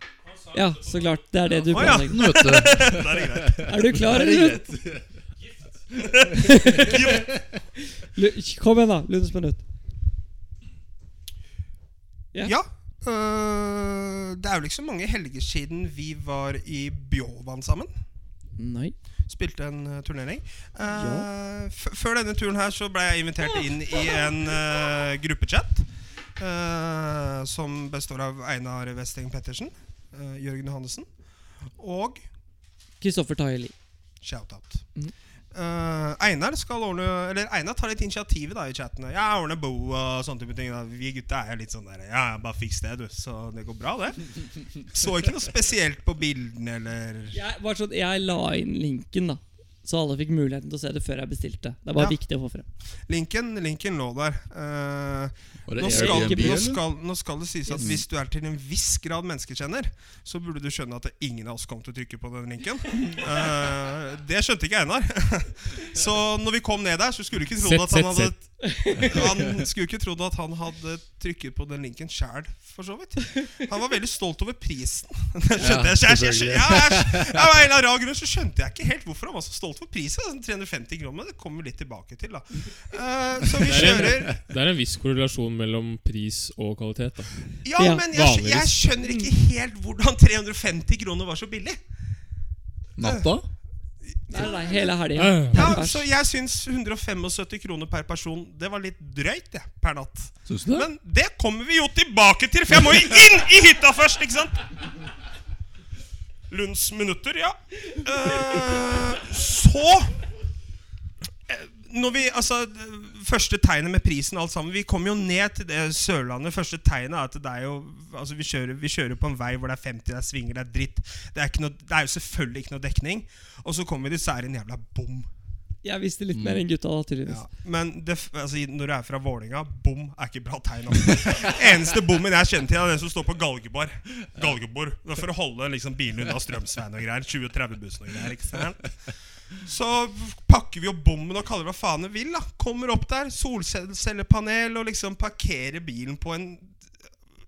S1: Ja, så klart. Det er det du
S2: Å, ja.
S1: planlegger.
S3: Nå vet du.
S1: Er du klar, eller? Lu- Kom igjen, da. Lunsjminutt. Ja.
S2: Ja. øh, det er vel ikke så mange helger siden vi var i Bjovan sammen.
S1: Nei.
S2: Spilte en øh, turnering. Eh, f før denne turen her så ble jeg invitert inn i en øh, gruppechat. øh, som består av Einar Westeng Pettersen, øh, Jørgen Johannessen og
S1: Kristoffer Taili.
S2: Shoutout.
S1: Mhm.
S2: Eh, Einar skal ordne Eller Einar tar litt initiativet da i chattene. Ja, jeg ordner bo og sånne type ting. Da. Vi gutta er jo litt sånn der Ja, ja, bare fiks det, du. Så det går bra, det. Så ikke noe spesielt på bildene eller
S1: Jeg, bare sånn, jeg la inn linken, da. Så alle fikk muligheten til å se det før jeg bestilte. Det var
S2: Ja.
S1: viktig å få frem.
S2: Linken, linken lå der. Eh,
S3: Var
S2: nå,
S3: det
S2: skal,
S3: Airbnb,
S2: nå,
S3: eller?
S2: skal, nå skal det sies at
S5: Mm.
S2: hvis du er til en viss grad menneskekjenner, så burde du skjønne at det er ingen av oss kom til å trykke på den linken. Eh, det skjønte ikke Einar. så når vi kom ned der, så skulle du ikke trodd
S5: Sett,
S2: at han
S5: sett,
S2: hadde Han skulle ikke trodd at han hadde trykket på den linken sjæl, for så vidt. Han var veldig stolt over prisen. Det skjønte jeg.
S3: Ja,
S2: Jeg, jeg, jeg,
S3: selvfølgelig.
S2: ja, jeg, jeg, av en eller annen rar grunn så skjønte jeg ikke helt hvorfor han var så stolt for prisen. Altså, 350 kroner, det kommer vi litt tilbake til, da. Eh, så vi
S5: Det er en-
S2: kjører
S5: Det er en viss korrelasjon mellom pris og kvalitet. da
S2: Ja,
S1: Ja,
S2: men jeg, skj-
S5: vanligvis. Mm.
S2: jeg skjønner ikke helt hvordan 350 kroner var så billig.
S3: Natta?
S1: Nei, nei, hele helga.
S5: Ja,
S2: Ja, Så jeg syns 175 kroner per person, det var litt drøyt, det, per natt.
S3: Syns du det?
S2: Men det kommer vi jo tilbake til, for jeg må jo inn i hytta først, ikke sant? Lunds minutter, ja. Eh, så eh, når vi, altså, det Første tegnet med prisen og alt sammen Vi kommer jo ned til det Sørlandet. Første tegnet er at det er jo altså, vi, kjører, vi kjører på en vei hvor det er 50, det er svinger, det er dritt. Det er, ikke noe, det er jo selvfølgelig ikke noe dekning. Og så kommer vi dit, så er det en jævla bom.
S1: Jeg visste litt mer enn gutta, da, tydeligvis.
S2: Ja. Men det, f- altså, når du er fra Vålinga, bom er ikke bra tegn. Altså. Eneste bommen jeg kjenner til, er den som står på Galgeborg. Galgeborg Det er For å holde liksom, bilene unna Strømsveien og greier. 20-30-bussen og greier. ikke sant? Så pakker vi opp bommen og kaller det hva faen vi vil. da Kommer opp der, solcellepanel, og liksom parkerer bilen på en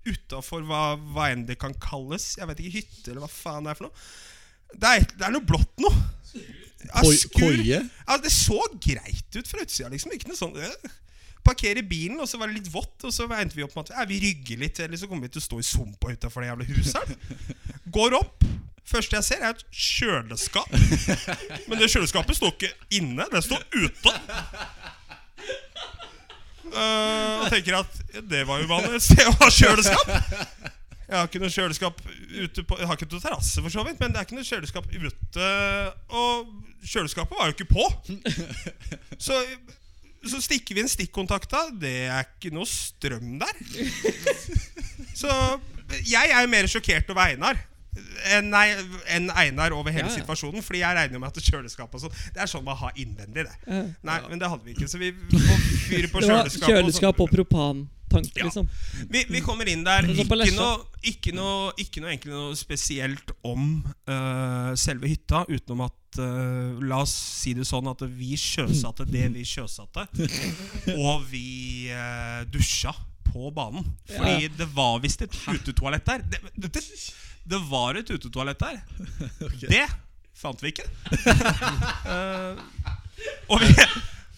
S2: Utafor hva, hva enn det kan kalles. Jeg vet ikke, Hytte, eller hva faen det er for noe. Det er, det er noe blått noe. Ja,
S3: Koi-
S2: skur.
S3: Koie?
S2: Ja, Altså, det så greit ut fra utsida, liksom. Ikke noe sånn øh. Parkere bilen, og så var det litt vått, og så endte vi opp med at ja, vi rygger litt, eller så kommer vi til å stå i sumpa utafor det jævla huset her. Går opp. Første jeg ser, er et kjøleskap. Men det kjøleskapet står ikke inne, det står ute. Eh, og tenker at ja, det var jo vanlig et sted å ha kjøleskap. Jeg har ikke noe kjøleskap ute på Jeg har ikke noe terrasse, for så vidt, men det er ikke noe kjøleskap ute. Og kjøleskapet var jo ikke på. Så, så stikker vi inn stikkontakta. Det er ikke noe strøm der. Så jeg er jo mer sjokkert over Einar. Enn enn Einar over hele
S1: Ja, ja.
S2: situasjonen. Fordi jeg regner jo med at kjøleskap og sånn Det er sånn man har innvendig, det.
S1: Ja.
S2: Nei, men det hadde vi ikke, så vi får fyr på
S1: Det var
S2: kjøleskapet.
S1: kjøleskap og
S2: sånn.
S1: propantank,
S2: Ja.
S1: liksom.
S2: vi, vi kommer inn der.
S1: Men så på
S2: Ikke
S1: Lesja.
S2: noe, ikke noe, ikke noe, egentlig noe spesielt om eh, selve hytta, utenom at eh, La oss si det sånn at vi sjøsatte det vi sjøsatte, og vi eh, dusja på banen. Fordi det var visst et utetoalett der. Det, det, det var et utetoalett der. Det fant vi ikke. Eh, og, vi,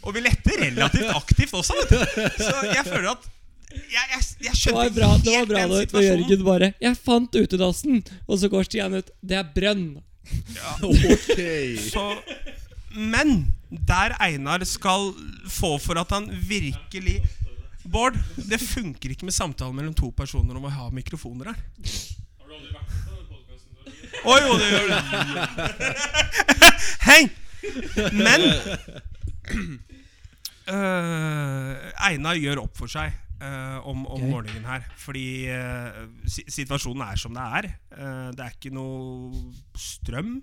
S2: og vi lette relativt aktivt også, vet du. Så jeg føler at Jeg, jeg, jeg
S1: Det
S2: skjønner
S1: var bra, det var
S2: helt
S1: bra
S2: den
S1: da da
S2: situasjonen.
S1: Jørgen bare 'Jeg fant utedassen', og så går Stian ut. Det er brønn.
S3: Ok.
S2: Så, men der Einar skal få for at han virkelig Bård, det funker ikke med samtale mellom to personer om å ha mikrofoner her. Å jo, det gjør det. Hei! Men øh, Einar gjør opp for seg øh, om, om
S1: Ok.
S2: morgenen her. Fordi øh, si- situasjonen er som det er. Eh, det er ikke noe strøm.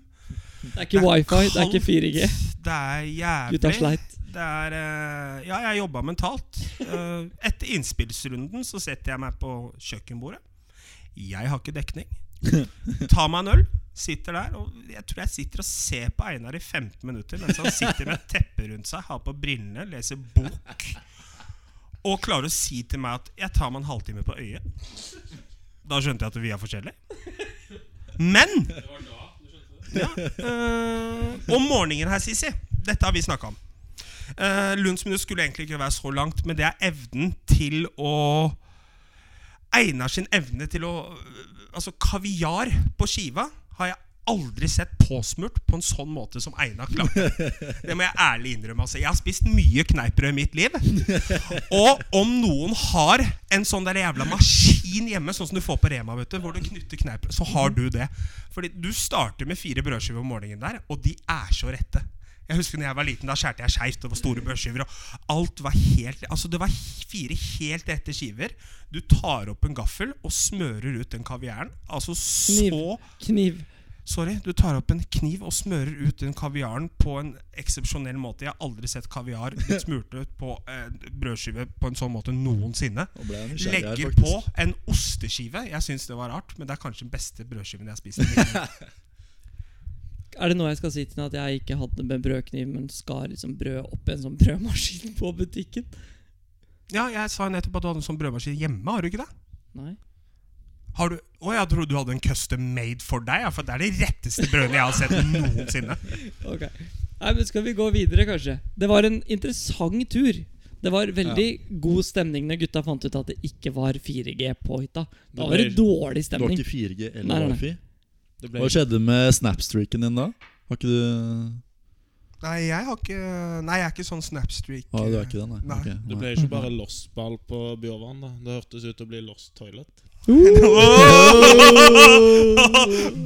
S1: Det er ikke wifi, det er ikke 4G.
S2: Det er
S1: Gutta
S2: jævlig.
S1: sleit.
S2: Det er eh, Ja, jeg jobba mentalt. Eh, etter innspillsrunden så setter jeg meg på kjøkkenbordet. Jeg har ikke dekning. Ta meg en øl. Sitter der, og jeg tror jeg sitter og ser på Einar i 15 minutter mens han sitter med et teppe rundt seg, har på brillene, leser bok. Og klarer å si til meg at 'jeg tar meg en halvtime på øyet'. Da skjønte jeg at vi er forskjellige. Men Eh, om morgenen her, Sisi. Dette har vi snakka om. Eh, Lunds minutt skulle egentlig ikke være så langt, men det er evnen til å Einar sin evne til å øh, Altså, kaviar på skiva har jeg aldri sett påsmurt på en sånn måte som Einar klarte. Det må jeg ærlig innrømme. Altså. Jeg har spist mye kneippbrød i mitt liv. Og om noen har en sånn der jævla maskin hjemme, sånn som du får på Rema, vet du, hvor du knytter kneippbrød, så har du det. Fordi du starter med fire brødskiver om morgenen der, og de er så rette. Jeg husker når jeg var liten, da skjærte jeg skeivt. Det var store brødskiver. Og alt var helt Altså, det var h- fire helt rette skiver. Du tar opp en gaffel og smører ut den kaviaren. Altså så
S1: Kniv. Kniv.
S2: Sorry, du tar opp en kniv og smører ut den kaviaren på en eksepsjonell måte. Jeg har aldri sett kaviar blitt smurt ut på eh, brødskive på en sånn måte noensinne.
S3: Nå ble jeg nysgjerrig her,
S2: Legger
S3: faktisk.
S2: på en osteskive. Jeg syns det var rart, men det er kanskje den beste brødskiven jeg har spist. i mitt liv.
S1: Er det noe jeg skal si til henne at jeg ikke hadde med brødkniv, men skar liksom brød opp i en sånn brødmaskin på butikken?
S2: Ja, jeg sa jo nettopp at du hadde en sånn brødmaskin hjemme, har du ikke det?
S1: Nei.
S2: Har du Å, jeg trodde du hadde en custom made for deg, ja, for det er de retteste brødene jeg har sett noensinne.
S1: Ok Nei, men Skal vi gå videre, kanskje? Det var en interessant tur. Det var veldig god stemning når gutta fant ut at det ikke var 4G på hytta. Da var det
S4: Det
S1: dårlig
S3: Du har
S1: stemning.
S3: ikke 4G
S1: Nei, nei,
S3: eller
S1: nei.
S3: wifi?
S4: Det ble
S3: Hva skjedde med snapstreaken din da? Har ikke du
S2: Nei, jeg har ikke Nei, jeg er ikke sånn snapstreak.
S3: ah, du er ikke det, nei?
S2: Nei.
S3: Ok,
S4: Det ble ikke bare lossball på Bjørvann. da Det hørtes ut til å bli lost toilet.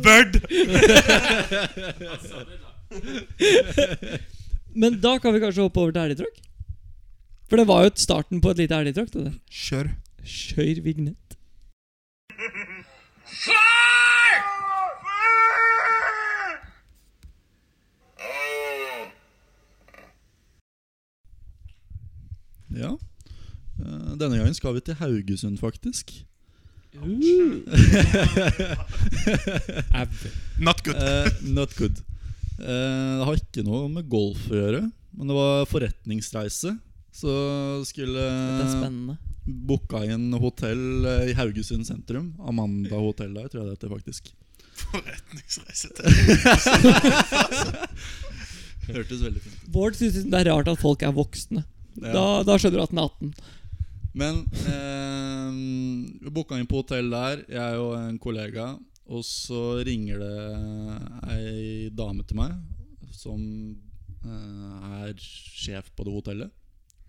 S2: Bird!
S1: Men da kan vi kanskje hoppe over til elgtråkk? For det var jo et starten på et lite elgtråkk. det der.
S2: Kjør.
S1: Kjør vignett.
S3: Ja. Eh, Denne gangen skal vi til Haugesund, faktisk.
S2: Not good.
S3: Eh, not good. Eh, det har ikke noe med golf å gjøre, men det var forretningsreise. Så skulle
S1: Det er spennende.
S3: booka inn hotell eh, i Haugesund sentrum. Amanda hotell der, tror jeg det heter, faktisk.
S6: Forretningsreise til
S3: Hørtes veldig fint ut.
S1: Bård syns liksom det er rart at folk er voksne.
S3: Ja.
S1: Da, da skjønner du at den er 18.
S3: Men eh, vi booka inn på hotell der, jeg og en kollega. Og så ringer det ei dame til meg, som eh, er sjef på det hotellet.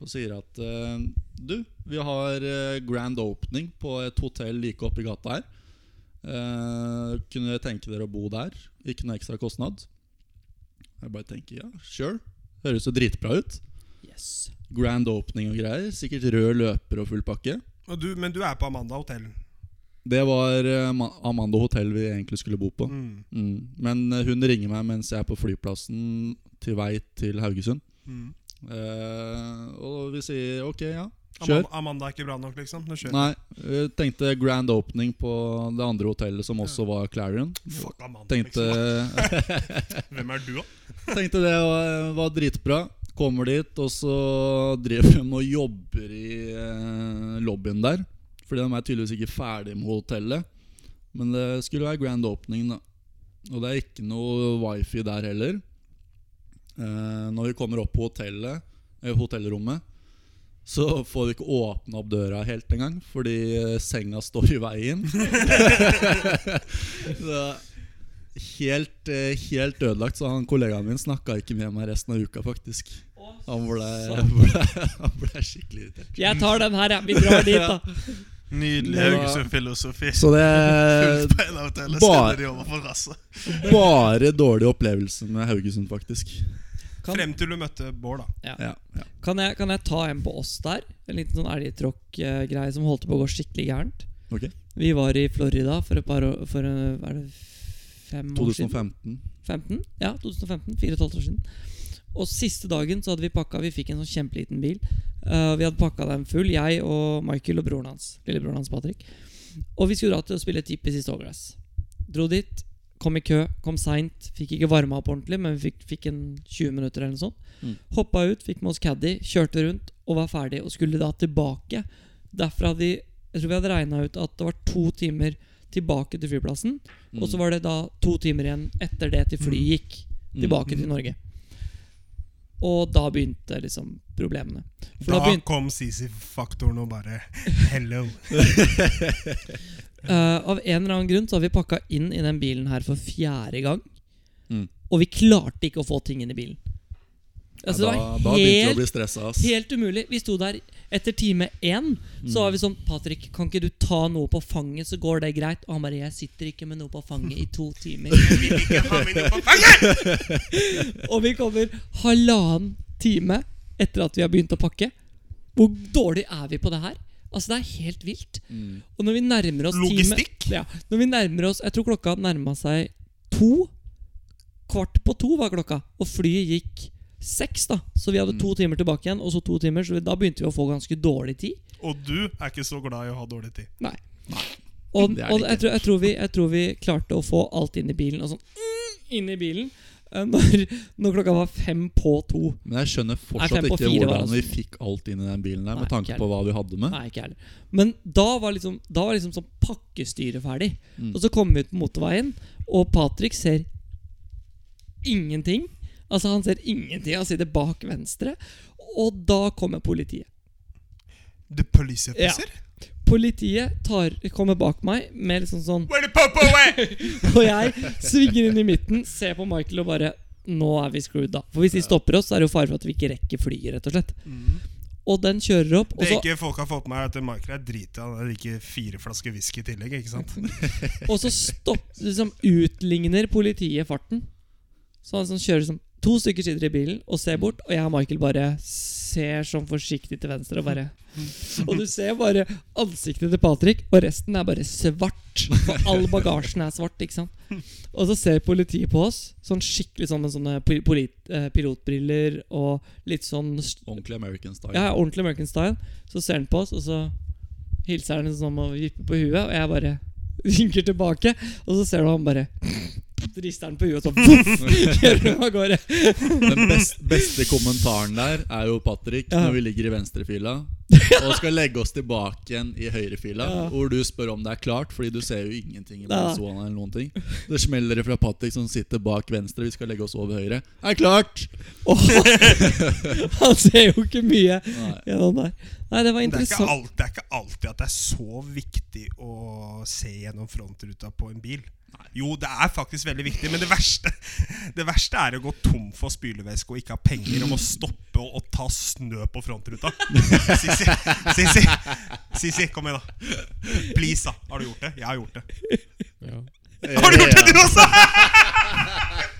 S3: Og sier at eh, du, vi har eh, grand opening på et hotell like oppi gata her. Eh, kunne dere tenke dere å bo der? Ikke noe ekstra kostnad? Jeg bare tenker ja, sure. Høres jo dritbra ut.
S1: Yes.
S3: Grand opening og greier. Sikkert rød løper og full pakke.
S2: Og du, men du er på Amanda hotell.
S3: Det var eh, Ma- Amanda hotell vi egentlig skulle bo på.
S2: Mm.
S3: Mm. Men eh, hun ringer meg mens jeg er på flyplassen til vei til Haugesund.
S2: Mm.
S3: Eh, og vi sier ok, ja. Kjør.
S2: Amanda, Amanda er ikke bra nok, liksom. Nå kjører vi.
S3: Nei, eh, tenkte grand opening på det andre hotellet, som også var Clarion.
S2: Fuck Amanda,
S3: Tenkte,
S2: liksom. Hvem er du, da?
S3: tenkte det var, var dritbra. Kommer dit, og så driver de og jobber i eh, lobbyen der. Fordi de er tydeligvis ikke ferdig med hotellet. Men det skulle være grand opening, da. Og det er ikke noe wifi der heller. Eh, når vi kommer opp på hotellet eh, hotellrommet, så får vi ikke åpna opp døra helt engang, fordi eh, senga står i veien. så helt, eh, helt ødelagt, så han kollegaen min snakka ikke med meg resten av uka, faktisk. Han ble, han ble, han ble skikkelig irritert.
S1: Jeg tar den her, jeg. Vi drar dit, da.
S6: Nydelig
S3: Det var-
S6: Haugesund-filosofi.
S3: Så det
S6: Fullt på en avtale,
S3: Eh, Bare-
S6: sender de over for rasset.
S3: Bare dårlige opplevelser med Haugesund, faktisk.
S1: Kan,
S2: Frem til du møtte Bård, da.
S3: Ja, ja.
S1: kan, jeg, kan jeg ta en på oss der? En liten sånn elgtråkk-greie som holdt på å gå skikkelig gærent.
S3: Ok.
S1: Vi var i Florida for et par år For eh, hva er det fem år siden?
S3: 2015.
S1: 15? Ja, 2015. Fire og et halvt år siden. Og siste dagen så hadde vi pakka Vi fikk en sånn kjempeliten bil. Eh, vi hadde pakka den full, jeg og Michael og broren hans. Lillebroren hans Patrick. Og vi skulle dra til å spille Tippis i Stålglass. Dro dit, kom i kø, kom seint. Fikk ikke varma opp ordentlig, men vi fikk, fikk en 20 minutter eller noe sånt.
S3: Mm.
S1: Hoppa ut, fikk med oss caddy, kjørte rundt og var ferdig. Og skulle da tilbake. Derfra hadde vi Jeg tror vi hadde regna ut at det var to timer tilbake til flyplassen. Og
S3: Mm.
S1: så var det da to timer igjen etter det til flyet gikk
S3: Mm.
S1: tilbake til Norge. Og da begynte liksom problemene. For
S2: Da
S1: da begynte
S2: kom CC-faktoren og bare Hello.
S1: Eh, av en eller annen grunn så har vi pakka inn i den bilen her for fjerde gang.
S3: Mm.
S1: Og vi klarte ikke å få ting inn i bilen.
S3: Ja,
S1: Altså,
S3: da,
S1: det var
S3: da begynte vi å
S1: helt,
S3: bli stressa. ass.
S1: helt umulig. Vi sto der etter time én. Så
S3: Mm.
S1: var vi sånn Patrick, kan ikke du ta noe på fanget, så går det greit? Og han bare Jeg sitter ikke med noe på fanget i to timer. og vi kommer halvannen time etter at vi har begynt å pakke. Hvor dårlig er vi på det her? Altså, det er helt vilt. Og når vi nærmer oss time-
S2: Logistikk?
S1: ja, når vi nærmer oss Jeg tror klokka nærma seg to. Kvart på to var klokka, og flyet gikk seks, da. Så vi hadde to timer tilbake igjen, og så to timer. Så vi, da begynte vi å få ganske dårlig tid.
S2: Og du er ikke så glad i å ha dårlig tid.
S1: Nei. Og,
S3: Det er det
S1: og
S3: ikke.
S1: jeg, tror, jeg, tror vi, jeg tror vi klarte å få alt inn i bilen. Og sånn mm, inn i bilen eh, når, når klokka var fem på to.
S3: Men jeg skjønner
S1: Nei,
S3: fortsatt
S1: fem på
S3: ikke
S1: fire var
S3: hvordan
S1: altså-
S3: vi fikk alt inn i den bilen der,
S1: Nei,
S3: med tanke
S1: ikke
S3: på hva vi hadde med.
S1: Nei, ikke jeg heller. Men da var liksom, da var liksom sånn pakkestyret ferdig.
S2: Mm.
S1: Og så kommer vi ut på motorveien, og Patrick ser ingenting. Altså, han ser ingenting. Han sitter bak venstre. Og da kommer politiet.
S2: The police officer?
S1: Politiet tar, kommer bak meg med liksom sånn
S2: Where the pop away?
S1: Og jeg svinger inn i midten, ser på Michael og bare Nå er vi screwed, da. For hvis de stopper oss, så er det jo fare for at vi ikke rekker flyet, rett og slett. Og den kjører opp, og
S2: Mm. Det
S1: så,
S2: er ikke folk har fått med er at Michael er drita. Han drikker fire flasker whisky i tillegg. ikke sant?
S1: og så stopp, liksom, utligner politiet farten. Så han sånn, kjører som To stykker sitter i bilen og ser bort, og jeg og Michael bare ser sånn forsiktig til venstre og bare Og du ser bare ansiktet til Patrick, og resten er bare svart. For all bagasjen er svart, ikke sant. Og så ser politiet på oss, sånn skikkelig sånn med sånne pi- polit- eh, pilotbriller og litt sånn s-
S3: Ordentlig American style.
S1: ja, ordentlig American style. Så ser han på oss, og så hilser han sånn og vipper på huet, og jeg bare vinker tilbake. Og så ser du han bare rister han på huet, og så voff! Kjører han av gårde.
S3: Den best, beste kommentaren der er jo Patrick
S1: Ja.
S3: når vi ligger i venstrefila og skal legge oss tilbake igjen i høyrefila,
S1: Ja.
S3: hvor du spør om det er klart, fordi du ser jo ingenting i
S1: Nei.
S3: Venezuela eller noen ting. Det smeller fra Patrick som sitter bak venstre, vi skal legge oss over høyre. Er klart!
S1: Og han, han ser jo ikke mye
S3: Nei.
S1: gjennom der. Nei, det var
S2: Det er, ikke
S1: interessant.
S2: alt, det er ikke alltid at det er så viktig å se gjennom frontruta på en bil. Jo, det er faktisk veldig viktig, men det verste Det verste er å gå tom for spylevæske og ikke ha penger og må stoppe og, og ta snø på frontruta. Sissi, Sissi, Sissi, kom igjen, da. Please, da. Har du gjort det? Jeg har gjort det. Har du gjort det, du også?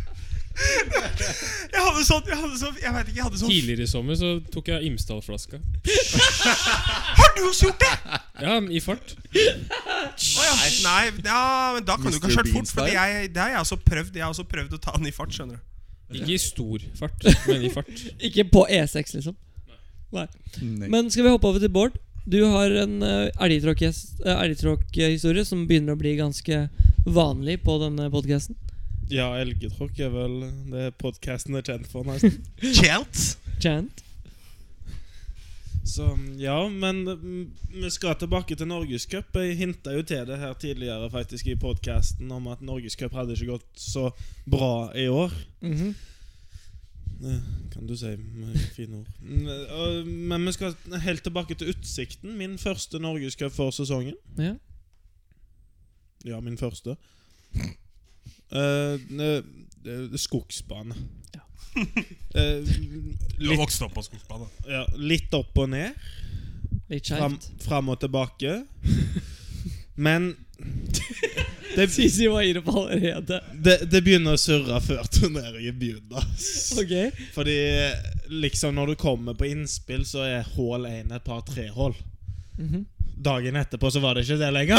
S2: Jeg hadde sånn Jeg, hadde sånn, jeg vet ikke, jeg hadde sånn
S5: Tidligere i sommer så tok jeg Imsdal-flaska.
S2: Har du også gjort det?
S5: Ja, i fart.
S2: Å ja. Nei, ja, men da kan du ikke ha
S3: Mr.
S2: kjørt fort. For
S3: Bean-style?
S2: jeg, det har jeg også prøvd. Jeg har også prøvd å ta den i fart, skjønner du.
S5: Ikke i stor fart, men i fart.
S1: Ikke på E6, liksom. Nei.
S3: Nei.
S1: Men skal vi hoppe over til Bård? Du har en eh, elgtråkhes- eh, elgtråkhistorie som begynner å bli ganske vanlig på denne podkasten.
S4: Ja, elgetråkk er vel det podkasten er kjent for, nesten.
S2: Kjelt?
S1: Chant.
S4: Så ja, men mm, vi skal tilbake til Norgescup. Jeg hinta jo til det her tidligere faktisk i podkasten om at Norgescup hadde ikke gått så bra i år.
S1: Mhm.
S4: Det kan du si med fine ord. Mm, og- Men vi skal helt tilbake til Utsikten. Min første norgescup for sesongen.
S1: Ja.
S4: Ja, min første. Eh, ne- eh, skogsbane.
S1: Ja.
S4: Eh,
S2: Du har
S4: litt,
S2: vokst opp på skogsbanen.
S4: ja, litt opp og ned.
S1: Litt
S4: Fram,
S1: skjevt.
S4: fram og tilbake. Men det,
S1: Sisi var inne på allerede.
S4: det, det begynner å surre før turneringen begynner. ass.
S1: Ok.
S4: Fordi liksom når du kommer på innspill, så er hull én et par trehull.
S1: Mhm.
S4: Dagen etterpå så var det ikke det lenger.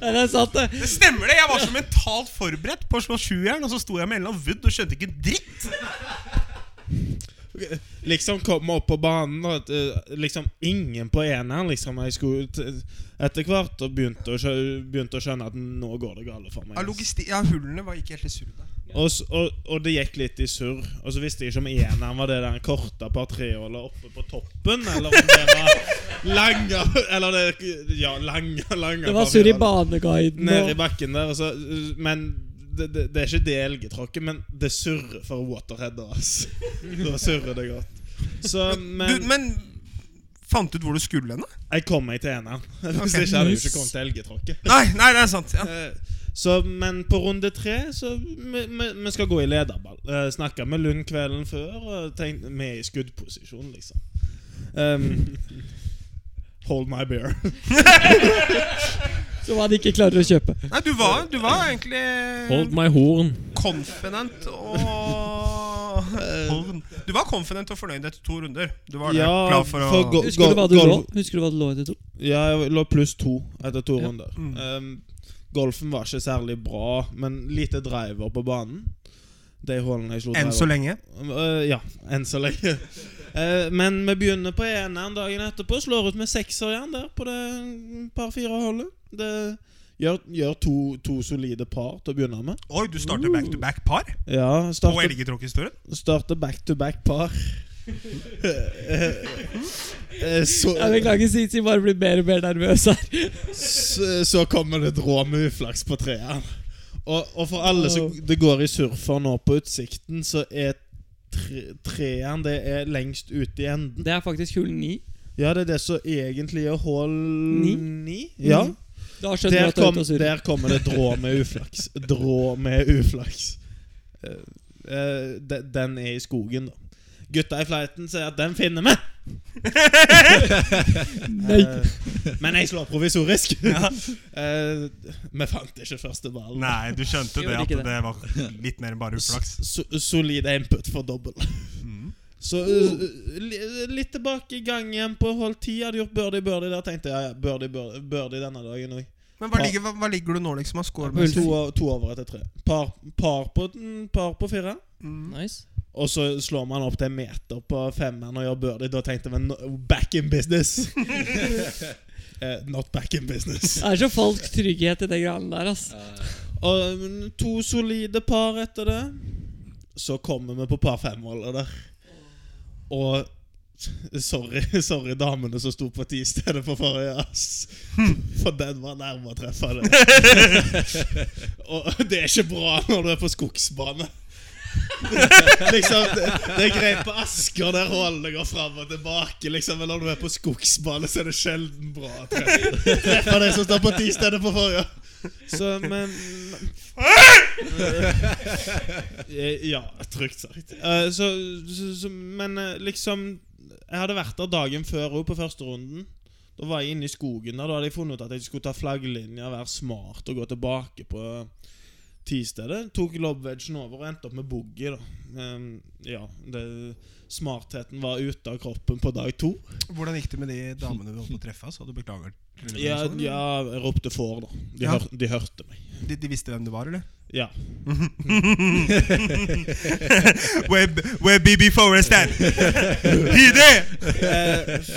S1: Nei, det er sant, det.
S2: Det stemmer det! Jeg var så mentalt forberedt på å slå sjujern, og så sto jeg med Ellen Wood og skjønte ikke en dritt!
S4: Liksom kom opp på banen, og at, eh, liksom ingen på eneren liksom jeg skulle t- Etter hvert og begynte, å skjø begynte å skjønne at nå går det galt for meg.
S2: Ja,
S4: ass.
S2: logisti- ja, hullene var ikke helt i surr der.
S4: Og, s- og, og det gikk litt i surr. Og så visste jeg ikke om eneren var det der korte par trehullet oppe på toppen, eller om det var lange Eller det Ja, lange, lange
S1: Det var
S4: par
S1: surr i
S4: firehåll.
S1: baneguiden.
S4: Nede i
S1: Og...
S4: bakken der. Altså, uh, men det, det, det er ikke det elgetråkket, men det surrer for waterheader. Altså. Da surrer det godt. Så,
S2: Men, du,
S4: men
S2: men fant du ut hvor du skulle hen? da?
S4: jeg kom meg til eneren. Hvis ikke hadde jeg jo ikke kommet til elgetråkket.
S2: Nei, nei, det er sant. Ja.
S4: Eh, Så, men på runde tre så vi, vi, vi skal gå i lederball. Uh, Snakka med Lund kvelden før og tenkte vi er i skuddposisjon, liksom. Um, hold my beer.
S1: Som han ikke klarer å kjøpe.
S2: Nei, du var, du var
S5: Hold
S2: egentlig
S5: my horn.
S2: confident og Horn. Du var confident og fornøyd etter to runder. Du var det.
S4: Ja,
S2: Klar for å
S4: for go-
S1: Husker du hva du
S4: Gol-
S1: lå Husker du hva du lå etter to?
S4: Ja, jeg lå pluss to etter to
S1: Ja.
S4: runder.
S2: Mm.
S4: Ehm, golfen var ikke særlig bra, men lite driver på banen. De hullene jeg slo
S2: Enn så
S4: driver-
S2: lenge.
S4: Eh, ja, enn så lenge. Eh, men vi begynner på eneren dagen etterpå. Slår ut med sekserjern der på det par-fire hullet. Det gjør, gjør to, to solide par til å begynne med.
S2: Oi, du starter back to back par
S4: Ja,
S2: på
S4: starter
S2: elgetråkkhistorien?
S4: starter back-to-back-par. Eh, så
S1: Jeg Beklager, Sisi bare blir mer og mer nervøs her.
S4: så, så kommer det et rå med uflaks på treeren. Og, og for alle som det går i surfer nå på Utsikten, så er tre, treeren det er lengst ute i enden.
S1: Det er faktisk hull ni.
S4: Ja, det er det som egentlig er hull
S1: Ni?
S4: ni. Ja.
S1: Da skjønner du
S4: Der,
S1: at det er
S4: kom,
S1: ute og surrer.
S4: der kommer det et drå med uflaks. Drå med uflaks. Eh, eh, de- den er i skogen, da. Gutta i flighten sier at 'den finner vi'!
S1: Nei.
S4: Eh, men jeg slår provisorisk. Eh, vi fant ikke første ballen.
S2: Nei, du skjønte det
S1: Gjorde
S2: at
S1: ikke det.
S2: det var litt mer enn bare uflaks. Mm.
S4: so solid input for dobbel. Så uh, li- litt tilbake i gang igjen på hold 10. Hadde gjort birdie, birdie der. Tenkte jeg ja, ja, birdie, birdie, birdie denne dagen òg.
S2: Men hva ligger, hva, hva ligger du nå, liksom? Av score
S1: Hull
S2: med
S4: To, o- to over etter tre. Par, par, på, mm, par på fire.
S1: Nice.
S4: Og så slår man opp til en meter på femmeren og gjør birdie. Da tenkte vi no, back in business. Eh, not back in business.
S1: Det er så falsk trygghet i det greiene der, ass.
S4: Og mm, to solide par etter det. Så kommer vi på par femholder der. Og sorry, sorry damene som sto på ti i stedet for forrige. ass. For den var nærme å treffe det. og det er ikke bra når du er på skogsbane. liksom, det, det er greit på Asker, der hullene går fram og tilbake. Liksom, men når du er på skogsbane, så er det sjelden bra å treffe treffe det som står på ti i stedet for forrige. Så, men Eh, Ja, trygt sagt. Eh, så, så, så, men eh, liksom Jeg hadde vært der dagen før òg, på første runden. Da var jeg inne i skogen der. Da hadde jeg funnet ut at jeg skulle ta flagglinja, være smart og gå tilbake på tistedet. Tok lobvedgen over og endte opp med boogie, da. Eh, ja, det, smartheten var ute av kroppen på dag to.
S2: Hvordan gikk det med de damene du holdt på å treffe? Så du beklager
S4: Ja, ja jeg ropte for, da. De,
S2: sånn, Ja.
S4: hør, de hørte meg.
S2: De, de visste hvem du var, eller?
S4: Ja.
S2: Where, where BB Forest at? Hide!
S4: Eh,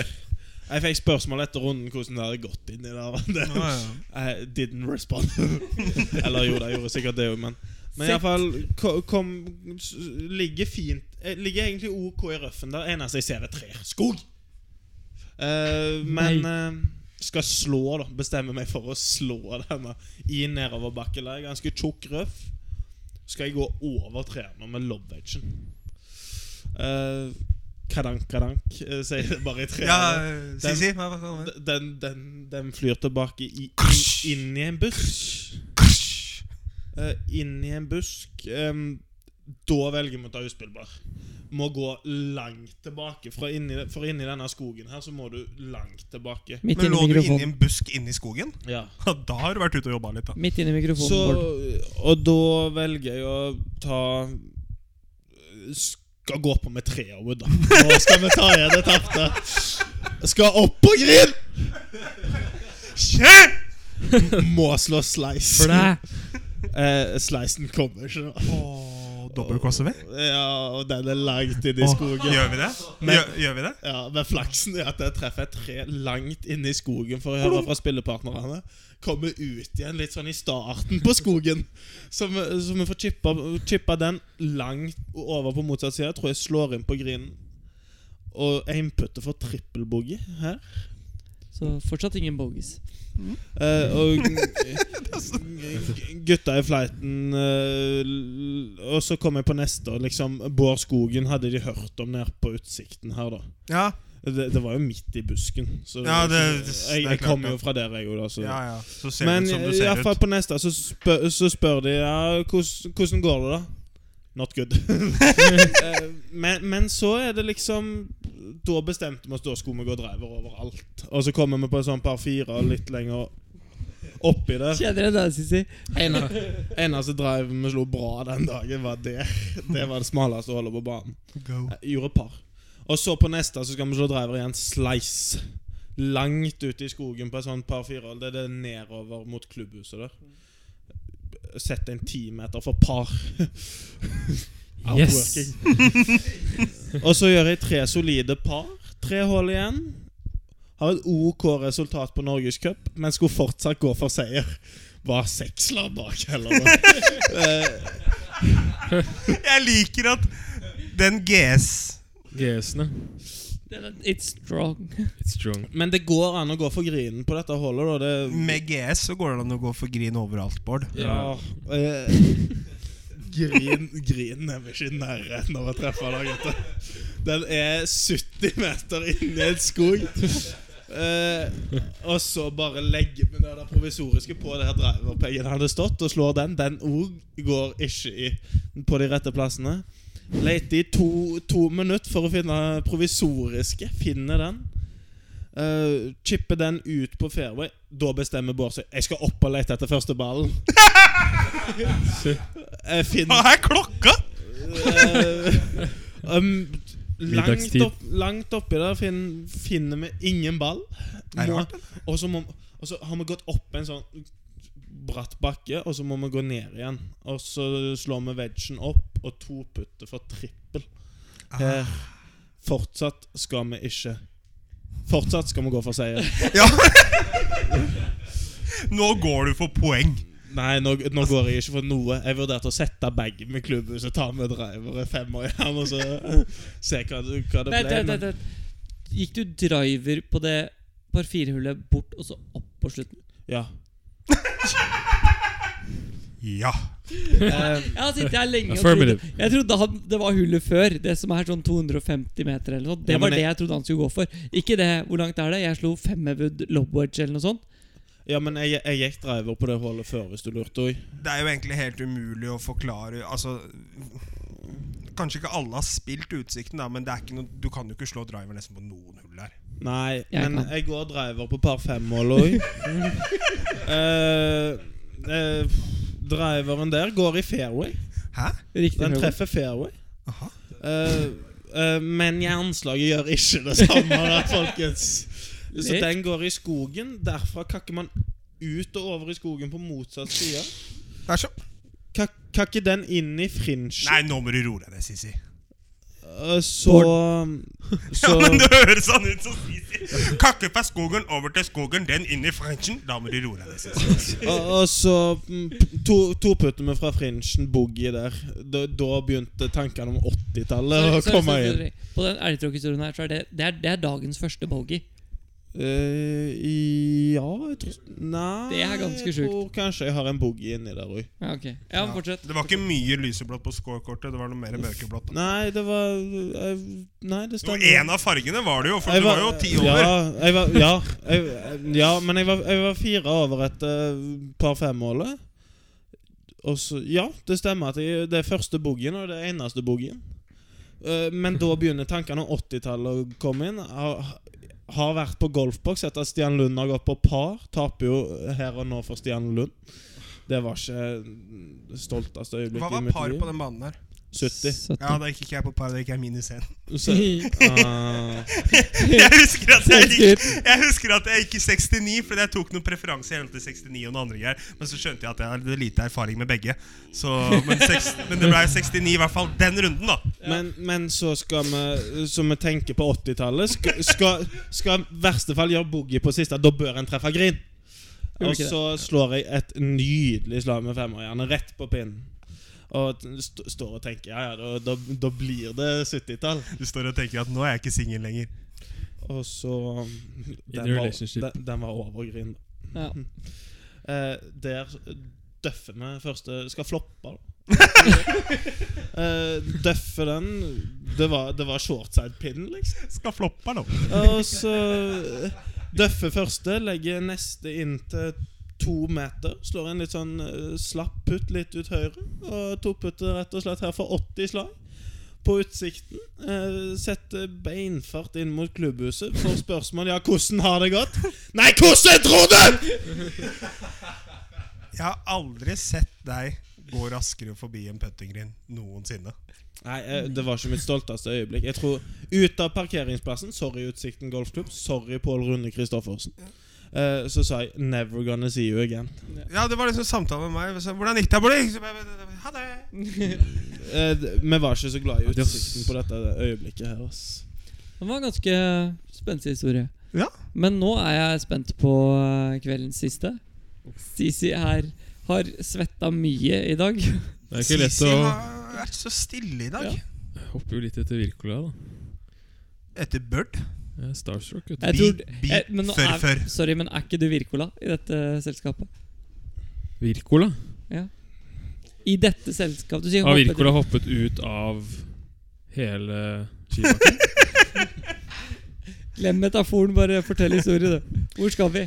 S4: Jeg fikk spørsmål etter runden hvordan det hadde gått inn i det. her. det I Eh, didn't respond. Eller jo, jeg gjorde sikkert det òg, men Men iallfall kom s- Ligger fint eh, Ligger egentlig OK i røffen. Det eneste jeg ser, er trær. Skog! Eh, men eh, skal slå, da. Bestemmer meg for å slå denne i nedoverbakke. der. Ganske tjukk røff. skal jeg gå over treene med love-edgen. Eh, kadank, kadank, eh, sier det bare i treene.
S2: Ja, Sisi? Hva hva kaller du det?
S4: D- Den, den, den flyr tilbake i, inn,
S2: Krush.
S4: inn i en busk. Eh, inn i en busk. Em, da velger vi å ta uspillbar. Må gå langt tilbake. Fra inni, for inni denne skogen her så må du langt tilbake.
S1: Midt
S2: Men
S1: inni
S2: lå du inni
S1: mikrofonen.
S2: en busk inni skogen?
S4: Ja.
S2: Ja, Da har du vært ute og jobba litt, da.
S1: Midt inni mikrofonen,
S4: Så,
S1: Bård.
S4: og da velger jeg å ta Skal gå på med Treawood, da. Nå skal vi ta igjen det tapte. Skal opp på grind! Kjør! Må slå slice.
S1: For deg!
S4: Eh, slicen kommer ikke nå.
S2: Åh, Dobbeltkvassevei?
S4: Ja, og den er langt inn i
S2: Åh,
S4: skogen.
S2: Gjør vi det? Gjør, gjør vi det?
S4: Ja, Men flaksen er at jeg treffer et tre langt inne i skogen for å høre fra spillepartnerne. Kommer ut igjen litt sånn i starten på skogen. Så vi, så vi får chippa, chippa den langt over på motsatt side. Jeg tror jeg slår inn på grinen. Og aimputter for trippelboogie her.
S1: Så fortsatt ingen bogies.
S4: Eh, og g- gutta i flighten eh, l- Og så kom jeg på neste. og Liksom, Bård Skogen hadde de hørt om nede på Utsikten her, da.
S2: Ja,
S4: Det, det var jo midt i busken. Så
S2: Ja, det-
S4: jeg,
S2: det er
S4: jeg,
S2: klart,
S4: kommer
S2: ja.
S4: jo fra der, jeg òg.
S2: ja. ja. eh, Så ser
S4: Men
S2: det ut som du
S4: i
S2: ser
S4: hvert fall
S2: ut.
S4: på neste så spør, så spør de ja, hvordan, hvordan går det, da? Not good. Eh, men, men så er det liksom Da bestemte vi oss, da skulle vi gå driver overalt. Og så kommer vi på en sånn par fire og litt lenger oppi det.
S1: Kjenner jeg deg, Sissi?
S4: Ena, eneste drive vi slo bra den dagen, var der. Det var det smaleste hullet på banen.
S2: Go.
S4: Jeg Eh, Gjorde par. Og så på neste så skal vi slå driver igjen. Slice. Langt ute i skogen på et sånt par firehål. Det er det nedover mot klubbhuset der. Sett en timeter for par.
S5: Yes.
S4: Outworking. Og så gjør jeg tre solide par. Tre hull igjen. Har et OK resultat på Norgescup, men skulle fortsatt gå for seier. Var seks lag bak, heller.
S2: Jeg liker at den GS
S5: GS-ene.
S1: It's strong.
S5: It's strong.
S4: Men det går an å gå for grinen på dette hullet, da. Det
S2: Med GS så går det an å gå for grin overalt, Bård.
S4: Ja eh, Grin Grinen er vi ikke i nærheten av å treffe da, gutter. Den er 70 meter inni en skog. Eh, og så bare legger vi det der provisoriske på der driverpengen hadde stått, og slår den. Den òg går ikke i, på de rette plassene. Leter i to, to minutter for å finne provisoriske. Finner den. Eh, chipper den ut på fairway. Da bestemmer Bård seg. Jeg skal opp og lete etter første ballen. Jeg
S2: Hva
S4: finner
S2: er klokka?!
S4: eh, um, langt,
S5: Middagstid.
S4: opp, langt oppi der finn, finner vi ingen ball.
S2: Er det
S4: Må-
S2: rart,
S4: Og så må- og så har vi gått opp en sånn bratt bakke, og så må vi gå ned igjen. Og så slår vi veggen opp og to putter for trippel.
S2: Ah.
S4: Her. Fortsatt skal vi ikke Fortsatt skal vi gå for seier.
S2: Nå går du for poeng.
S4: Nei, nå, nå går jeg ikke for noe. Jeg vurderte å sette bag med klubben, så tar vi driver i fem år igjen, og så se hva, det- hva
S1: Vent,
S4: det ble.
S1: vent,
S4: men-
S1: vent, vent. Gikk du driver på det par firehullet bort og så opp på slutten?
S4: Ja.
S2: Ja.
S4: Eh,
S1: Jeg har sittet her lenge og trodde,
S5: Affirmative.
S1: Jeg trodde han, det var hullet før. Det som er sånn 250 meter eller noe. sånt. Det
S4: Ja,
S1: var
S4: men jeg-
S1: det jeg trodde han skulle gå for. Ikke det, hvor langt er det? Jeg slo femmewood lobwedge eller noe sånt.
S4: ja, men jeg, jeg gikk driver på det hullet før, hvis du lurte òg.
S2: Det er jo egentlig helt umulig å forklare Altså Kanskje ikke alle har spilt Utsikten, da, men det er ikke noe, du kan jo ikke slå driver nesten på noen hull der.
S4: Nei,
S1: Jeg
S4: men
S1: kan.
S4: jeg går driver på par fem-mål òg. eh, eh, driveren der går i fairway.
S2: Hæ?
S1: Riktig
S4: Den
S1: høyde.
S4: treffer fairway.
S2: Aha.
S4: Eh, eh, men jernslaget gjør ikke det samme, da, folkens. Så
S1: Litt.
S4: den går i skogen. Derfra kakker man ut og over i skogen på motsatt side.
S2: Det er så
S4: Kak kakker den inn i fringe.
S2: Nei, nå må du roe deg ned, Sisi.
S4: Eh, så
S2: Ja,
S4: Så
S2: men det høres sånn ut som Sisi. Kakke fra skogen over til skogen, den inn i Frenchen. Da må du roe deg ned, Sisi.
S4: og, og så mm, to, to putter vi fra fringen, boogie der. Da, da begynte tankene om 80-tallet
S1: Sorry,
S4: å
S1: sorry,
S4: komme
S1: sorry,
S4: inn.
S1: sorry. På den elgtråkkhistorien her, så er det, det, er, det er dagens første bogey.
S4: Eh, i- ja jeg tror, Nei
S1: Det er ganske
S4: Jeg tror kanskje jeg har en boogie inni der òg.
S1: Ja, ok. Ja, men fortsett.
S2: Det var ikke mye lyseblått på scorekortet. Det var noe mer mørkeblått. da.
S4: Nei, det var jeg, Nei, det
S2: Jo,
S4: stemmer.
S2: en av fargene var det jo, for
S4: Jeg
S2: du var jo ti år.
S4: Ja, jeg var, ja, jeg, ja men jeg var, jeg var fire over et eh, par fem-målet. Og så Ja, det stemmer. at jeg, Det er første boogien og det er eneste boogien. Eh, men da begynner tankene om 80-tallet å komme inn. Har, har vært på golfboks etter at Stian Lund har gått på par. Taper jo her og nå for Stian Lund. Det var ikke stolteste øyeblikket
S2: Hva var par på den banen der?
S4: 70.
S2: Ja, da gikk ikke jeg på par, da gikk jeg minus én.
S4: Så, ah.
S2: Jeg husker at jeg gikk
S1: Skip.
S2: Jeg husker at jeg gikk i 69 fordi jeg tok noen preferanser i henhold til 69 og den andre greier. Men så skjønte jeg at jeg hadde lite erfaring med begge. Så, men, seks, men det ble 69 i hvert fall den runden, da.
S4: Men, men så skal vi Som vi tenker på 80-tallet skal, skal, skal i verste fall gjøre boogie på siste Da bør en treffe grin
S1: Gjorde
S4: Og
S1: ikke det.
S4: så slår jeg et nydelig slag med femårhjerne Rett på pinnen Og t- st står og tenker Ja, ja, da, da, da blir det 70-tall
S2: Du står og tenker at nå er jeg ikke singel lenger.
S4: Og så
S5: In
S4: den
S5: a
S4: var,
S5: relationship.
S4: den, den var over grin
S1: Ja.
S4: eh, Der døffer vi første Skal floppe da eh, Døffe den Det var, det var shortside-pinnen liksom
S2: Skal floppe nå.
S4: Og så døffer første, legger neste inn til to meter. Slår en litt sånn eh, slapp putt litt ut høyre. Og tok puttet rett og slett her for 80 slag. På utsikten. Eh, setter beinfart inn mot klubbhuset. Får spørsmål ja, 'Hvordan har det gått?' Nei, hvordan tror du?!
S2: Jeg har aldri sett deg gå raskere forbi en puttinggrind noensinne.
S4: Nei, eh, det var ikke mitt stolteste øyeblikk. Jeg tror Ut av parkeringsplassen. Sorry, Utsikten golfklubb. Sorry, Pål Rune Christoffersen. Eh, så sa jeg 'Never gonna see you again'.
S2: Ja, det var liksom samtale med meg. Så, Hvordan gikk det, Bolig? Ha det!
S4: Eh, d- Vi var ikke så glad i
S5: Adios.
S4: utsikten på dette øyeblikket her. Ass.
S1: Det var en ganske spenstig historie.
S2: Ja.
S1: Men nå er jeg spent på eh, kveldens siste. Sisi her har svetta mye i dag.
S5: Det er ikke lett å
S2: har vært så stille i dag.
S1: Ja.
S5: hoppe jo litt etter Wirkola, da.
S2: Etter Bird.
S5: Jeg er starstruck, vet du.
S1: Jeg
S2: Bi-
S1: tror-
S2: bi-
S1: eh, men nå
S2: før,
S1: er,
S2: før.
S1: Sorry, men er ikke du Wirkola i dette selskapet?
S5: Wirkola?
S1: I dette selskapet Du sier
S5: Har
S1: hoppet-
S5: Wirkola hoppet ut av hele skibakken?
S1: Glem metaforen, bare fortell historie, du. Hvor skal vi?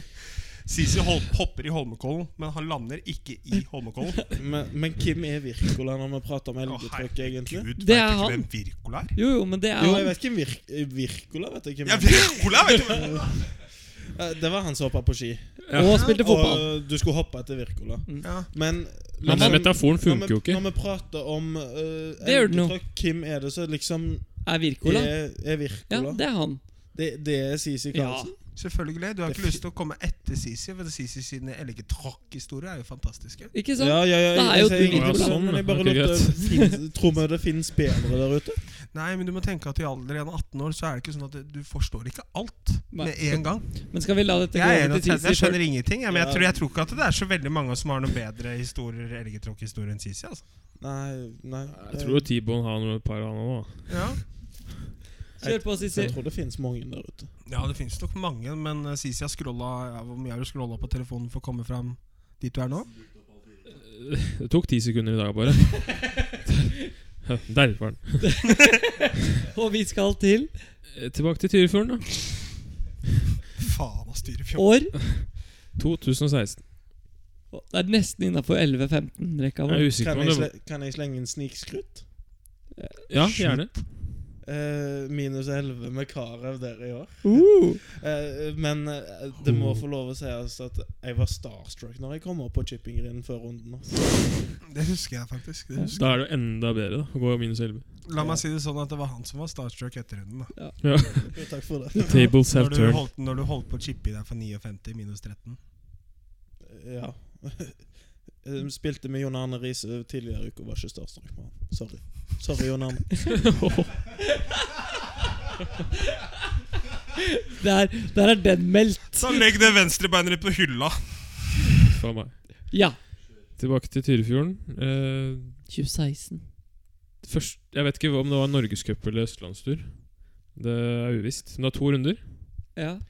S2: Sisi hol- hopper i Holmenkollen, men han lander ikke i Holmenkollen.
S4: Men, men hvem er Wirkola når vi prater om
S2: Å,
S4: elgetråkk, egentlig?
S2: Gud,
S1: Det
S2: vet
S1: er
S2: ikke
S1: han.
S2: hvem Wirkola er?
S1: Jo, jo, men det er
S4: Jo, jeg
S1: han.
S4: vet ikke hvem Virk- eh, Wirkola vet jeg hvem
S2: Ja,
S4: er.
S2: Wirkola, vet du hvem det er?
S4: Eh, Det var han som hoppa på ski.
S1: Og spilte fotball.
S4: Og du skulle hoppe etter Wirkola.
S2: Ja.
S4: Men
S5: Men den metaforen
S4: når vi-
S5: funker jo ikke.
S4: Når vi prater om eh,
S1: Det gjør den jo.
S4: elgetråkk, hvem er det som liksom
S1: Er Wirkola?
S4: er, er
S1: Ja,
S4: Wirkola?
S1: det er han.
S4: det, det er Sisi
S1: Ja.
S4: Karlsen?
S2: Selvfølgelig. Du har ikke
S4: Det er
S2: lyst til å komme etter Sisi, for Sisi sine elgetråkkhistorier er jo fantastiske.
S1: Ikke sant?
S4: Ja, ja, ja.
S1: Da er jo
S4: Jeg sier
S1: du
S4: ingenting
S5: Wirkola.
S4: sånn, men jeg bare
S5: Ok,
S4: lurte fin- Tror vi det fins bedre der ute?
S2: Nei, men du må tenke at i alderen 18 år så er det ikke sånn at du forstår ikke alt med
S1: Nei.
S2: en gang.
S1: Men skal vi la dette gå
S2: Jeg er
S1: over
S2: enig,
S1: til
S2: Ted, jeg
S1: Sisi før?
S2: skjønner ingenting. Jeg, men jeg
S4: Ja.
S2: tror, jeg tror ikke at det er så veldig mange som har noen bedre historier elgetråkkhistorier enn Sisi. altså
S4: Nei, nei.
S5: Jeg tror jo T-Bone har noe par av nå. da.
S2: Ja,
S1: Kjør på, Sisi.
S4: Jeg tror det finnes mange der ute.
S2: ja det finnes nok mange, men eh, Sisi har scrolla ja, Hvor mye har du scrolla på telefonen for å komme fram dit du er nå?
S5: Det tok ti sekunder i dag, bare. Der var den.
S1: Og vi skal til
S5: Eh, Tilbake til Tyrifjorden, da.
S2: Faen, ass, styrefjord.
S1: år
S5: 2016.
S1: Det er nesten innafor 11-15-rekka
S5: Jeg
S1: vår.
S5: er usikker
S4: Kan
S5: på om
S4: jeg,
S5: det var
S4: sle kan jeg slenge en snikskrutt?
S5: Ja, gjerne.
S4: Eh, minus 11 med Karev der i år.
S1: Uh.
S4: Eh, men eh, det må få lov å sies at jeg var starstruck når jeg kom opp på chippingrinden før runden. altså.
S2: Det husker jeg faktisk. Det husker.
S5: Da er det jo enda bedre da, å gå minus 11.
S2: jeg. La meg si det sånn at det var han som var starstruck etter runden. da
S5: Ja.
S4: Jo, Takk for det.
S5: Tables have
S2: Når du
S5: turned.
S2: holdt, når du holdt på å chippe i deg for 59 minus 13.
S4: Ja. Eh, Spilte med Jon Arne Riise tidligere i uka, var ikke starstruck med han. Sorry. Sorry, Jon Arne.
S1: Der, der er den meldt.
S2: Så legg det venstrebeinet ditt på hylla.
S5: Fra meg.
S1: Ja.
S5: Tilbake til Tyrifjorden. Eh,
S1: 2016.
S5: først, jeg vet ikke om det var norgescup eller østlandstur. Det er uvisst. Men det var to runder.
S1: Ja.
S5: Eh,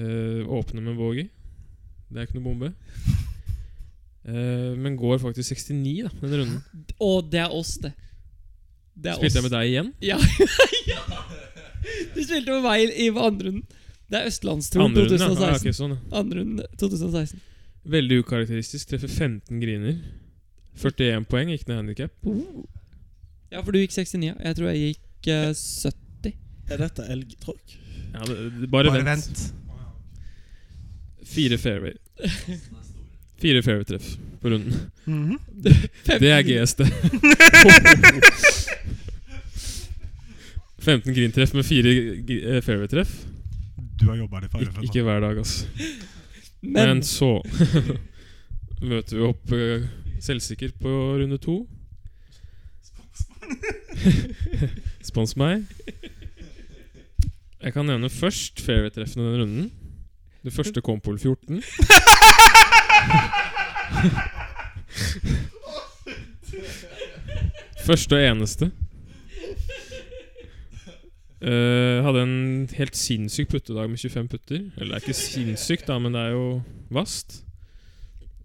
S5: Eh, åpner med Vågi. Det er ikke noe bombe. Eh, men går faktisk 69 da, denne runden.
S1: Og det er oss, det. Det er
S5: Spilte jeg
S1: oss.
S5: med deg igjen?
S1: Ja. Du spilte med meg i i andre runden. Det er Østlandsturen
S5: Andre runden, ja.
S1: 2016.
S5: Ah, ok, sånn, ja.
S1: Andre runden 2016.
S5: Veldig ukarakteristisk. Treffer 15 griner. 41 poeng, ikke noe handikap.
S1: Ja, for du gikk 69. ja. Jeg tror jeg gikk eh, 70.
S4: Er dette elgtråkk?
S5: Ja, det- det- bare,
S2: Bare
S5: vent.
S2: vent.
S5: Fire fairway. Fire fairway-treff på runden.
S2: Mhm.
S5: Det er GS, det. 15 grintreff med fire gri- eh, fairway-treff.
S2: Du har jobba litt for
S5: Ik ikke hver dag, altså. Men,
S1: Men
S5: så møter vi opp eh, selvsikker på runde to. Spons meg. Jeg kan nevne først fairway-treffene denne runden. Det første kom på hull 14. første og eneste. Eh, hadde en helt sinnssyk puttedag med 25 putter. Eller det er ikke sinnssykt, da, men det er jo vast.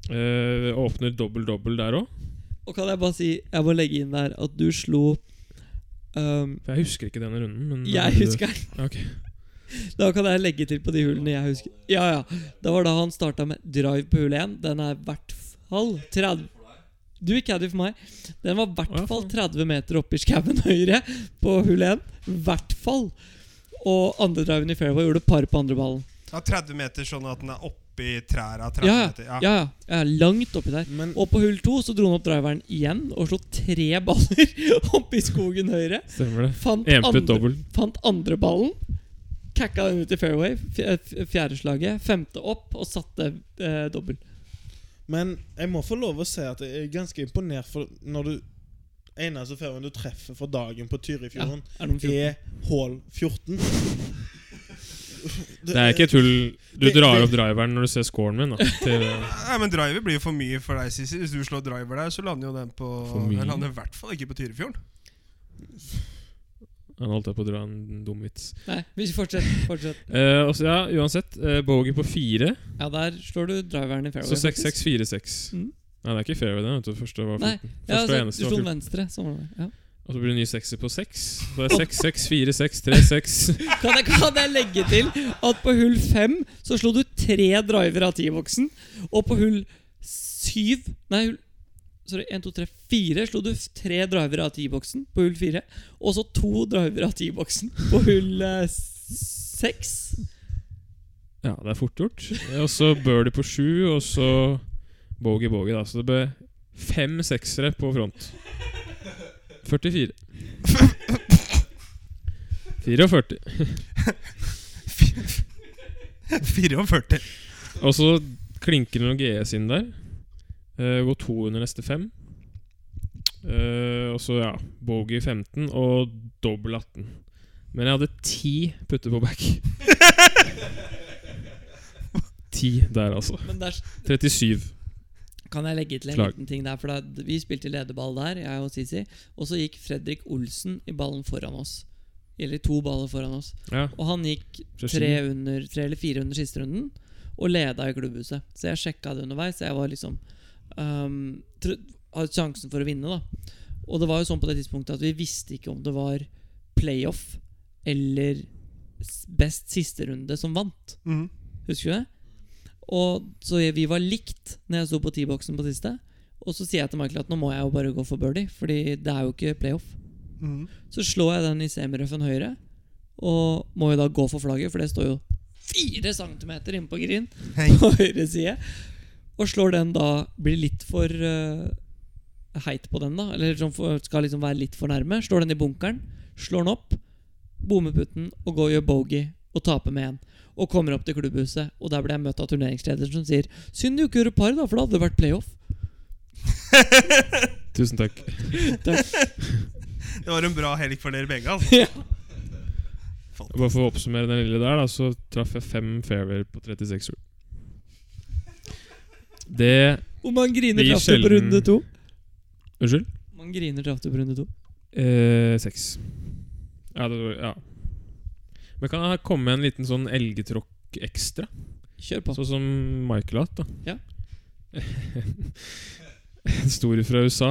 S5: Eh, åpner dobbel-dobbel der òg.
S1: og kan jeg bare si Jeg må legge inn der at du slo um,
S5: For jeg husker ikke denne runden. Men
S1: Jeg husker den.
S5: Ok.
S1: Da kan jeg legge til på de hullene jeg husker. Ja, ja. Det var da han starta med drive på hull 1. Den er i hvert fall 30 Du gikk caddy for meg. Den var i
S5: Å, ja,
S1: hvert fall
S5: faen.
S1: 30 meter opp i skauen høyre på hull 1. I hvert fall. Og andre driven i fairway gjorde par på andre ballen.
S2: Ja, 30 meter sånn at den er oppi træra. 30
S1: Ja,
S2: meter.
S1: ja. ja, ja. ja langt oppi der.
S4: Men
S1: Og på hull 2 så dro han opp driveren igjen og slo tre baller oppi skogen høyre.
S5: Stemmer det.
S1: Fant
S5: Enputt
S1: andre,
S5: dobbel.
S1: fant andre ballen. Kakka den ut i fairway. fj- eh, f- Fjerde slaget. Femte opp og satte eh, dobbel.
S4: Men jeg må få lov å si at jeg er ganske imponert for når du Eneste ferien du treffer for dagen på
S1: Ja,
S4: Tyrifjorden,
S1: er noen fjorten.
S4: er hål 14.
S5: Det er ikke tull. Du
S4: det-
S5: drar
S4: det-
S5: opp driveren når du ser scoren min. Da, til,
S2: Nei, men driver blir jo for mye for deg, Sissy. Hvis du slår driver der, så lander jo den på
S5: For mye?
S2: Den lander i hvert fall ikke på Tyrifjorden.
S5: han holdt jeg på å dra en dum vits.
S1: Nei, vi fortsetter. Fortsett.
S5: Eh, og så, ja, uansett. eh, Bogey på fire,
S1: Ja, der slår du driveren i fairway.
S5: så
S1: faktisk.
S5: 6-6-4-6.
S1: Mm.
S5: Nei, det er ikke fairway, den. vet du. Første var
S1: Nei,
S5: 14.
S1: Ja,
S5: Første
S1: så,
S5: og
S1: du
S5: eneste var
S1: slo
S5: 14.
S1: den venstre. Sånn var det. Ja.
S5: Og så blir det ny sekser på seks. Så det er seks, seks, fire, seks, tre, seks.
S1: Kan, jeg, kan jeg legge til at på hull 5 så slo du tre driver av T-boksen, og på hull 7 Nei, hull Sorry, 1, 2, 3, 4 slo du f- tre driver av T-boksen på hull 4. Og så to driver av T-boksen på hull eh, 6.
S5: Ja, det er fort gjort. Og så birdie på sju, og så bogey, bogey, da. Så det ble fem seksere på front. 44. 44.
S2: 44.
S5: Og så klinker det noen GS inn der. Eh, går to under neste fem. Eh, og så, ja, bogey 15 og dobbel 18. Men jeg hadde ti putter på back. Ti der, altså.
S1: Men der s-
S5: 37.
S1: kan jeg legge til en
S5: Slag.
S1: liten ting der. For da, d- vi spilte lederball der, jeg og Sisi. Og så gikk Fredrik Olsen i ballen foran oss. Eller to baller foran oss.
S5: Ja,
S1: Og han gikk
S5: fra Ski.
S1: tre, under, tre eller fire under siste runden og leda i klubbhuset. Så jeg sjekka det underveis. Jeg var liksom um, tr- hadde sjansen for å vinne, da. Og det var jo sånn på det tidspunktet at vi visste ikke om det var playoff eller s- best siste runde som vant.
S2: Mhm.
S1: Husker du det? Og Så jeg, vi var likt når jeg sto på T-boksen på siste. Og så sier jeg til Michael at nå må jeg jo bare gå for birdie, Fordi det er jo ikke playoff.
S5: Mm.
S2: Mhm.
S1: Så slår jeg den i semirøffen høyre Og må jo da gå for flagget For det står jo 4 cm inne på green
S2: Hei.
S1: På høyre side Og slår den da Blir litt for eh, heit på den da Eller sånn for, skal liksom være litt for nærme Slår den i bunkeren Slår den opp Bommer putten Og går og gjør bogey Og taper med en Og kommer opp til klubbhuset Og der ble jeg møtt av turneringslederen som sier Synd du ikke gjorde par da For da hadde det vært playoff
S5: Tusen takk.
S2: Det var en bra helg for dere begge. Altså.
S5: Bare for å oppsummere den lille der, da, så traff jeg fem fairwayer på 36 hull. Det
S1: Hvor mange griner
S5: Det gir
S1: traff du på
S5: sjelden-
S1: runde to?
S5: Unnskyld?
S1: Hvor mange griner traff du på runde to?
S5: Eh, seks. Ja, det var Ja. Men kan jeg komme med en liten sånn elgetråkk hakk ekstra.
S1: Kjør på.
S5: Sånn som Michael har hatt, da.
S1: Ja.
S5: en stor fra USA.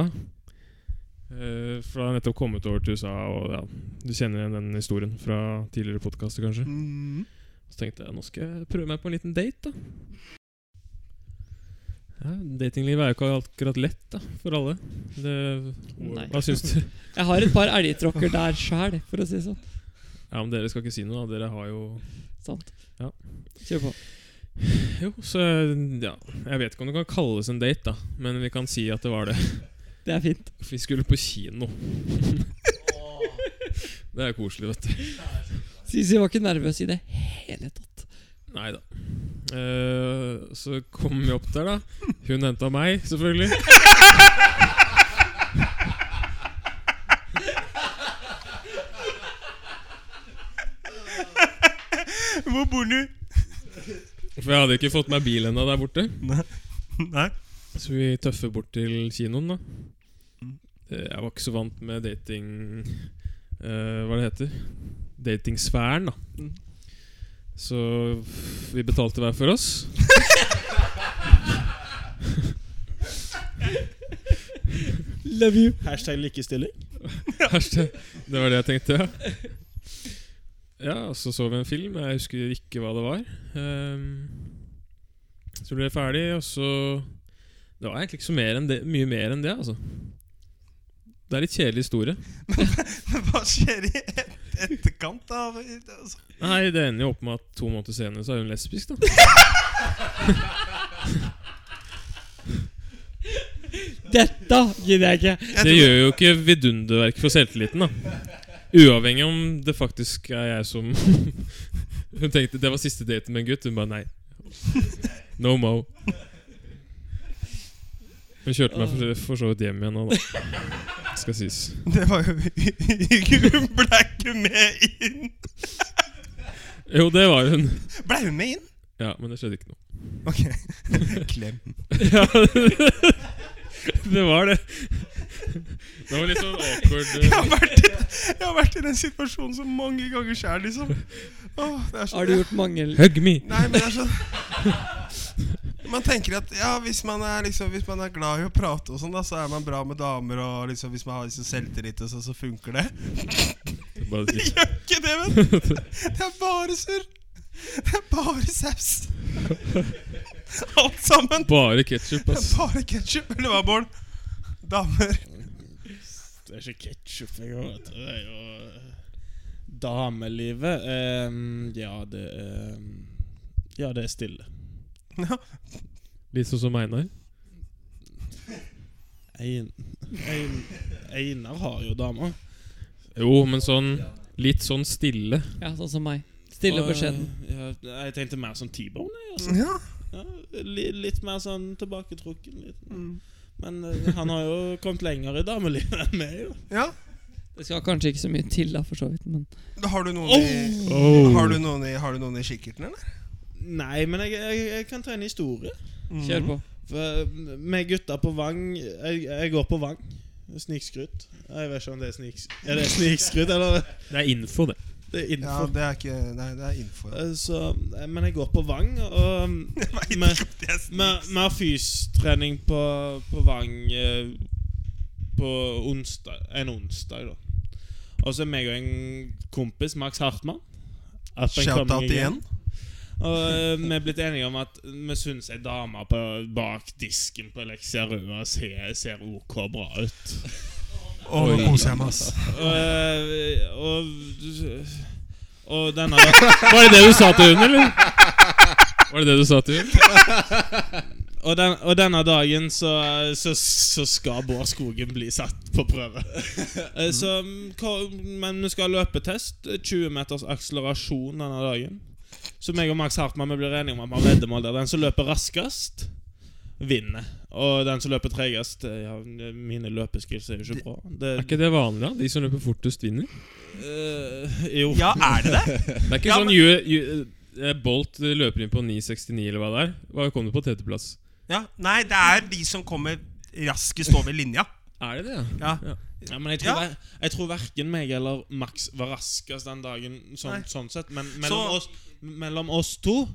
S5: Eh, for han har nettopp kommet over til USA, og ja, du kjenner igjen den historien fra tidligere podkaster, kanskje.
S2: Mm.
S5: Så tenkte jeg nå skal jeg prøve meg på en liten date, da. Ja, Datinglivet er jo ikke akkurat lett da, for alle. Det,
S1: Nei.
S5: hva syns du?
S1: Jeg har et par elgtråkker der sjæl, for å si det sånn.
S5: Ja, men Dere skal ikke si noe, da. Dere har jo
S1: Sant.
S5: Ja.
S1: Kjør på.
S5: Jo, så ja Jeg vet ikke om det kan kalles en date, da. Men vi kan si at det var det.
S1: Det er fint.
S5: Vi skulle på kino. det er koselig, vet du.
S1: Sisi var ikke nervøs i det hele tatt.
S5: Nei da. Eh, så kom vi opp der, da. Hun henta meg, selvfølgelig.
S2: Hvor bor du?
S5: For jeg hadde ikke fått meg bil ennå der borte.
S2: Nei?
S5: Så vi tøffer bort til kinoen, da. Eh, Jeg var ikke så vant med dating eh, Hva det heter Datingsfæren, da.
S1: Mm.
S5: Så vi betalte hver for oss.
S1: Love you.
S4: Hashtag likestilling.
S5: Hashtag. Det var det jeg tenkte, ja. Ja, og så så vi en film. Jeg husker ikke hva det var. Ehm, så ble jeg ferdig, og så Det var egentlig ikke så mer enn det, mye mer enn det, altså. Det er litt kjedelig historie.
S2: Men hva skjer i et etterkant av altså,
S5: Nei, det ender jo opp med at to måneder senere så er hun lesbisk, da.
S1: Dette gidder jeg ikke.
S5: Det gjør jo ikke vidunderverk for selvtilliten, da. Uavhengig om det faktisk er jeg som Hun tenkte det var siste daten med en gutt. Hun bare nei. No mo. Hun kjørte meg for, for så vidt hjem igjen nå, da. Skal sies.
S2: Det var jo Hun ble ikke med inn!
S5: Jo, det var hun.
S2: Ble hun med inn?
S5: Ja, men det skjedde ikke noe.
S2: Ok. Klem.
S5: Ja, det var det. Det var litt sånn awkward.
S2: Jeg har vært i, jeg har vært i den situasjonen så mange ganger sjøl, liksom. Åh, det er så,
S1: Har du gjort mange
S5: Hug me!
S2: Nei, men det er sånn Man tenker at ja, hvis man er, liksom, hvis man er glad i å prate, og sånn da så er man bra med damer. Og liksom, hvis man har liksom, selvtillit, og sånn, så funker det.
S5: Bare
S2: Det gjør ikke det, vet du! Det er bare surr. Det er bare saus. Alt sammen.
S5: bare ketsjup,
S2: Det er
S5: ass.
S2: bare ketsjup. Eller hva, Bård? Damer.
S4: Det er ikke ketsjup engang. vet du. Det er jo eh, Damelivet ehm, Ja, det er Ja, det er stille.
S2: Ja.
S5: Litt sånn som Einar.
S4: Ein, ein, Einar har jo dame.
S5: Jo, men sånn litt sånn stille.
S1: Ja, sånn som meg. Stille og beskjeden.
S4: eh, Ja, jeg tenkte mer sånn T-bone. jeg, Altså.
S2: ja.
S4: Ja, li, litt mer sånn tilbaketrukken. Litt. Men eh, han har jo kommet lenger i damelivet enn meg. jo.
S2: ja.
S1: Det skal kanskje ikke så mye til, da, for så vidt, men
S2: Da Har du noen i Har du noen i, har du noen i kikkerten, eller?
S4: Nei, men jeg, jeg, jeg kan ta en historie.
S2: Mm.
S1: kjør på.
S4: For Eh, med gutta på Vang Jeg, jeg går på Vang. Snikskryt. Jeg vet ikke om det er sniks... Er det snikskryt, eller?
S5: Det er info, det.
S4: Det er
S2: Ja,
S4: innenfor.
S2: det er ikke Nei, det er info.
S4: Eh, Så, eh, men jeg går på Vang, og med, med, med fystrening på, på Vang eh, på onsdag, en onsdag, da. Og så er meg og en kompis, Max Hartmann up and coming
S2: Shout-out igjen.
S4: Og eh, vi er blitt enige om at vi syns ei dame på- bak disken på Elixia Røa ser, ser OK bra ut.
S2: Å, nå koser jeg meg, ass.
S4: Og, eh, og, og denne
S5: Var det det du sa til hun, eller? Var det det du sa til hun?
S4: Og, den, og denne dagen så, så, så skal Bård Skogen bli satt på prøve. Eh, så, mm, hva- men vi skal ha løpetest. 20 meters akselerasjon denne dagen. Så meg og Max Hartmann vi blir enige om at vi har veddemål der den som løper raskest, vinner. Og den som løper tregest eh, ja, Mine løpeskills er jo ikke bra. Det,
S5: Er ikke det vanlig, da? De som løper fortest, vinner?
S4: eh, jo.
S2: Ja, er det det?
S5: Det er ikke
S2: Ja,
S5: sånn ju, ju, eh, Bolt løper inn på 9,69 eller hva det er. Hva kom du på tredjeplass?
S2: Ja, Nei, det er de som kommer raskest over linja.
S5: Er det det, ja?
S2: Ja.
S4: Ja, men jeg tror, ver- jeg tror verken meg eller Max var raskest den dagen,
S2: Nei.
S4: sånn, sånn sett. Men mellom,
S2: Så-
S4: oss, mellom oss to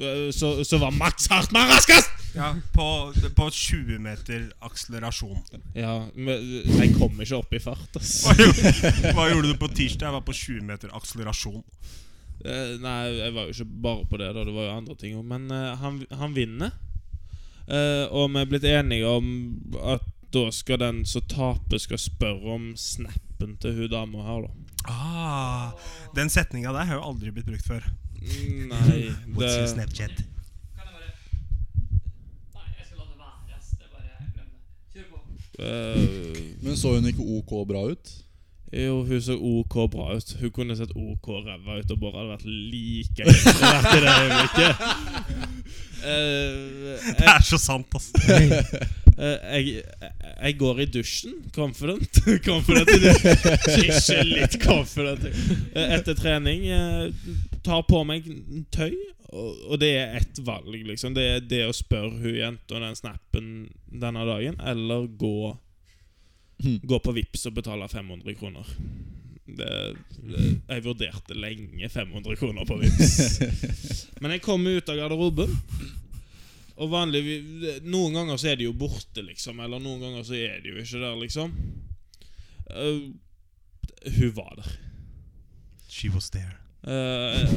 S4: øh, så, så var Max Hartmann raskest!
S2: Ja, på, på 20 meter akselerasjon.
S4: Ja, men eh, jeg kom ikke opp i fart, ass.
S2: Hva gjorde, hva gjorde du på tirsdag? Jeg var på 20 meter akselerasjon.
S4: Eh, Nei, jeg var jo ikke bare på det, da. Det var jo andre ting òg. Men eh, han, han vinner. Eh, og vi er blitt enige om at da skal den som taper, skal spørre om snappen til hun dama her, da.
S2: Ah, den setninga der har jo aldri blitt brukt før.
S4: Nei,
S2: What's your
S4: det
S2: Snapchat?
S1: Kan jeg bare Nei, jeg skal la det være. ass. Det er bare glem det. Kjør på.
S4: eh,
S3: Men så hun ikke OK bra ut?
S4: Jo, hun så OK bra ut. Hun kunne sett OK ræva ut og bare hadde vært like interessert i det øyeblikket. Eh,
S2: Det er så sant, ass.
S4: Eh, jeg, jeg går i dusjen confident. confident i dusjen. Ikke litt confident. Eh, etter trening eh, tar på meg tøy, og, og det er ett valg, liksom. Det er det å spørre hun jenta om den snappen denne dagen, eller gå
S2: Hm.
S4: Gå på Vips og betale 500 kroner. Det, det, jeg vurderte lenge 500 kroner på Vips. Men jeg kom ut av garderoben. Og vanligvis Noen ganger så er de jo borte, liksom. Eller noen ganger så er de jo ikke der, liksom. Eh, hun var der.
S2: She was there.
S4: Eh,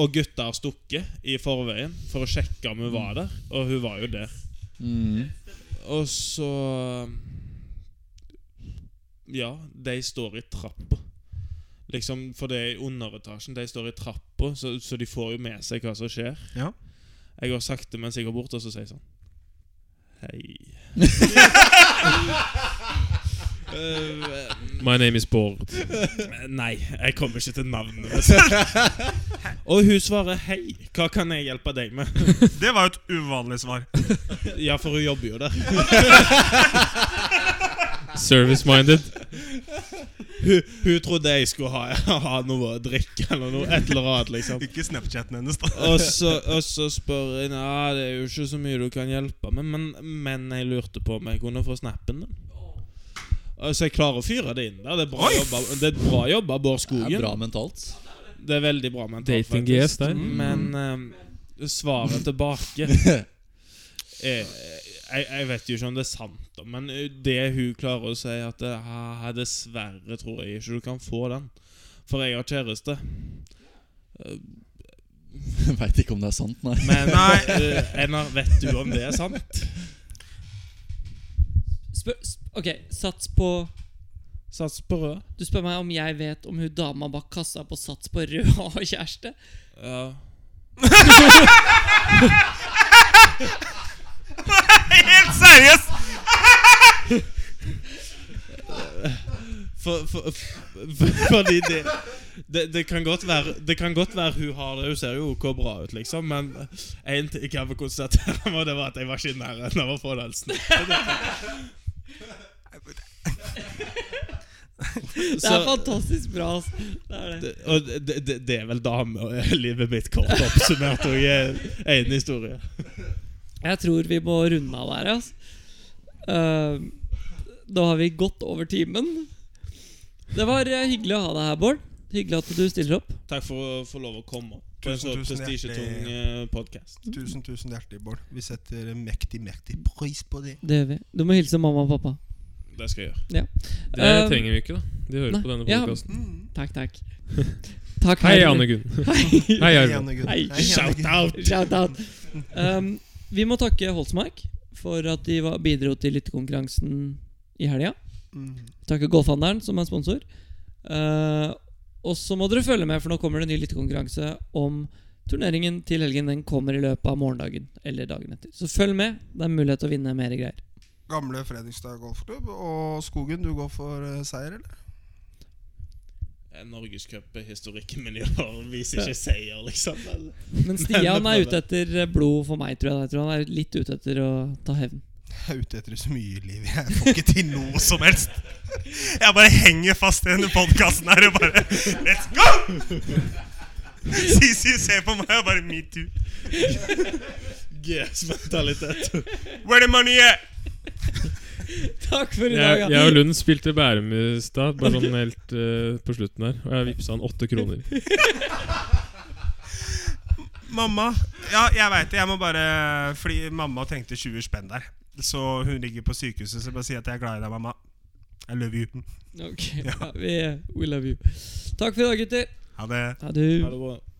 S4: og gutta har stukket i forveien for å sjekke om hun var der. Og hun var jo der.
S3: Mm.
S4: Og så um, Ja, de står i trappa. Liksom, For det er i underetasjen. De står i trappa, så, så de får jo med seg hva som skjer.
S2: Ja.
S4: Jeg går sakte, mens jeg går bort, og så sier jeg sånn Hei. Eh,
S5: My name is Bård.
S4: Nei, jeg kommer ikke til navnet. mitt. og hun svarer 'hei, hva kan jeg hjelpe deg med?'
S2: Det var jo et uvanlig svar.
S4: Ja, for hun jobber jo der.
S5: Service-minded.
S4: Hun, hun trodde jeg skulle ha, ha noe å drikke eller noe. Et eller annet, liksom.
S2: Ikke Snapchaten hennes, da.
S4: Og så, og så spør jeg Nei, det er jo ikke så mye du kan hjelpe med, men, men jeg lurte på om jeg kunne få snappen din. Og Så jeg klarer å fyre det inn der. Det er bra jobba, det er bra jobba Bård
S3: Det
S4: Skogen.
S3: er bra mentalt.
S4: Det er veldig bra mentalt,
S5: Dating
S4: faktisk. Mm.
S5: GS der.
S4: Men eh, svaret tilbake er, jeg, jeg vet jo ikke om det er sant, da, men eh, det hun klarer å si, at det, «Ah, dessverre tror jeg ikke du kan få den, for jeg har kjæreste.
S3: Veit ikke om det er sant, nei.
S4: Men
S2: Nei.
S4: eh, Einar, vet du om det er sant?
S1: Spør, sp ok, sats på
S4: Sats på rød.
S1: Du spør meg om jeg vet om hun dama bak kassa på Sats på Rød har kjæreste?
S4: Ja.
S2: Helt seriøst!
S4: For, for, for, fordi det, det, det, kan godt være, det kan godt være hun har det. Hun ser jo OK bra ut, liksom. Men én ting jeg vil konstatere, var det var at jeg var ikke i nærheten av å få den snippen.
S1: Det er fantastisk bra. ass. Det er det.
S4: Og det, det, det er vel damelivet mitt kort oppsummert og jeg er en historie.
S1: Jeg tror vi må runde av der, ass. Eh, da har vi gått over timen. Det var eh, hyggelig å ha deg her, Bård. Hyggelig at du stiller opp.
S4: Takk for å få lov å komme på en så
S2: Tusen, tusen
S4: prestisjetung eh, podkast.
S2: Tusen, tusen hjertelig, Bård. Vi setter mektig, mektig pris på det.
S1: Det gjør vi. Du må hilse mamma og pappa.
S4: Det skal jeg gjøre.
S5: Det
S1: Eh,
S5: trenger vi ikke, da. De hører
S1: nei,
S5: på denne
S1: ja.
S5: podkasten.
S1: Takk, takk. takk
S5: Hei,
S1: Herre.
S5: Anne Gunn. Hei, Arve.
S2: Anne-Gunn.
S1: Hei,
S2: Anne-Gunn.
S4: Shout out!
S1: Shout out. Um, vi må takke Holsmark for at de var, bidro til lyttekonkurransen i helga.
S2: Mm.
S1: Takke Golfhandelen, som er sponsor. Eh, og så må dere følge med, for nå kommer det en ny lyttekonkurranse om turneringen til helgen. Den kommer i løpet av morgendagen eller dagen etter. Så følg med. Det er mulighet til å vinne mer greier.
S2: Gamle Fredrikstad golfklubb. Og Skogen, du går for eh, seier, eller?
S4: Eh, Norgescup-historikken min i år viser ikke seier, liksom. Men
S1: Men Stian er ute etter eh, blod for meg, tror jeg. Jeg tror han er litt ute etter å ta hevn.
S2: Jeg er ute etter så mye i livet. Jeg får ikke til noe som helst. Jeg bare henger fast i denne podkasten her og bare Let's go! Sisi ser på meg og bare Me too.
S4: GS-mentalitet.
S2: Where the money at?
S1: Takk for i dag.
S5: Jeg,
S1: ja.
S5: jeg og Lund spilte Bærum i stad, bare sånn helt eh, på slutten der. Og jeg vippsa han åtte kroner.
S2: Mamma Ja, jeg veit det. Jeg må bare Fordi mamma trengte 20 spenn der. Så hun ligger på sykehuset, så jeg bare si at jeg er glad i deg, mamma. I love you.
S1: Ok, ja, vi, we love you. Takk for i dag, gutter.
S2: Ha det.
S1: Ha det.
S4: det var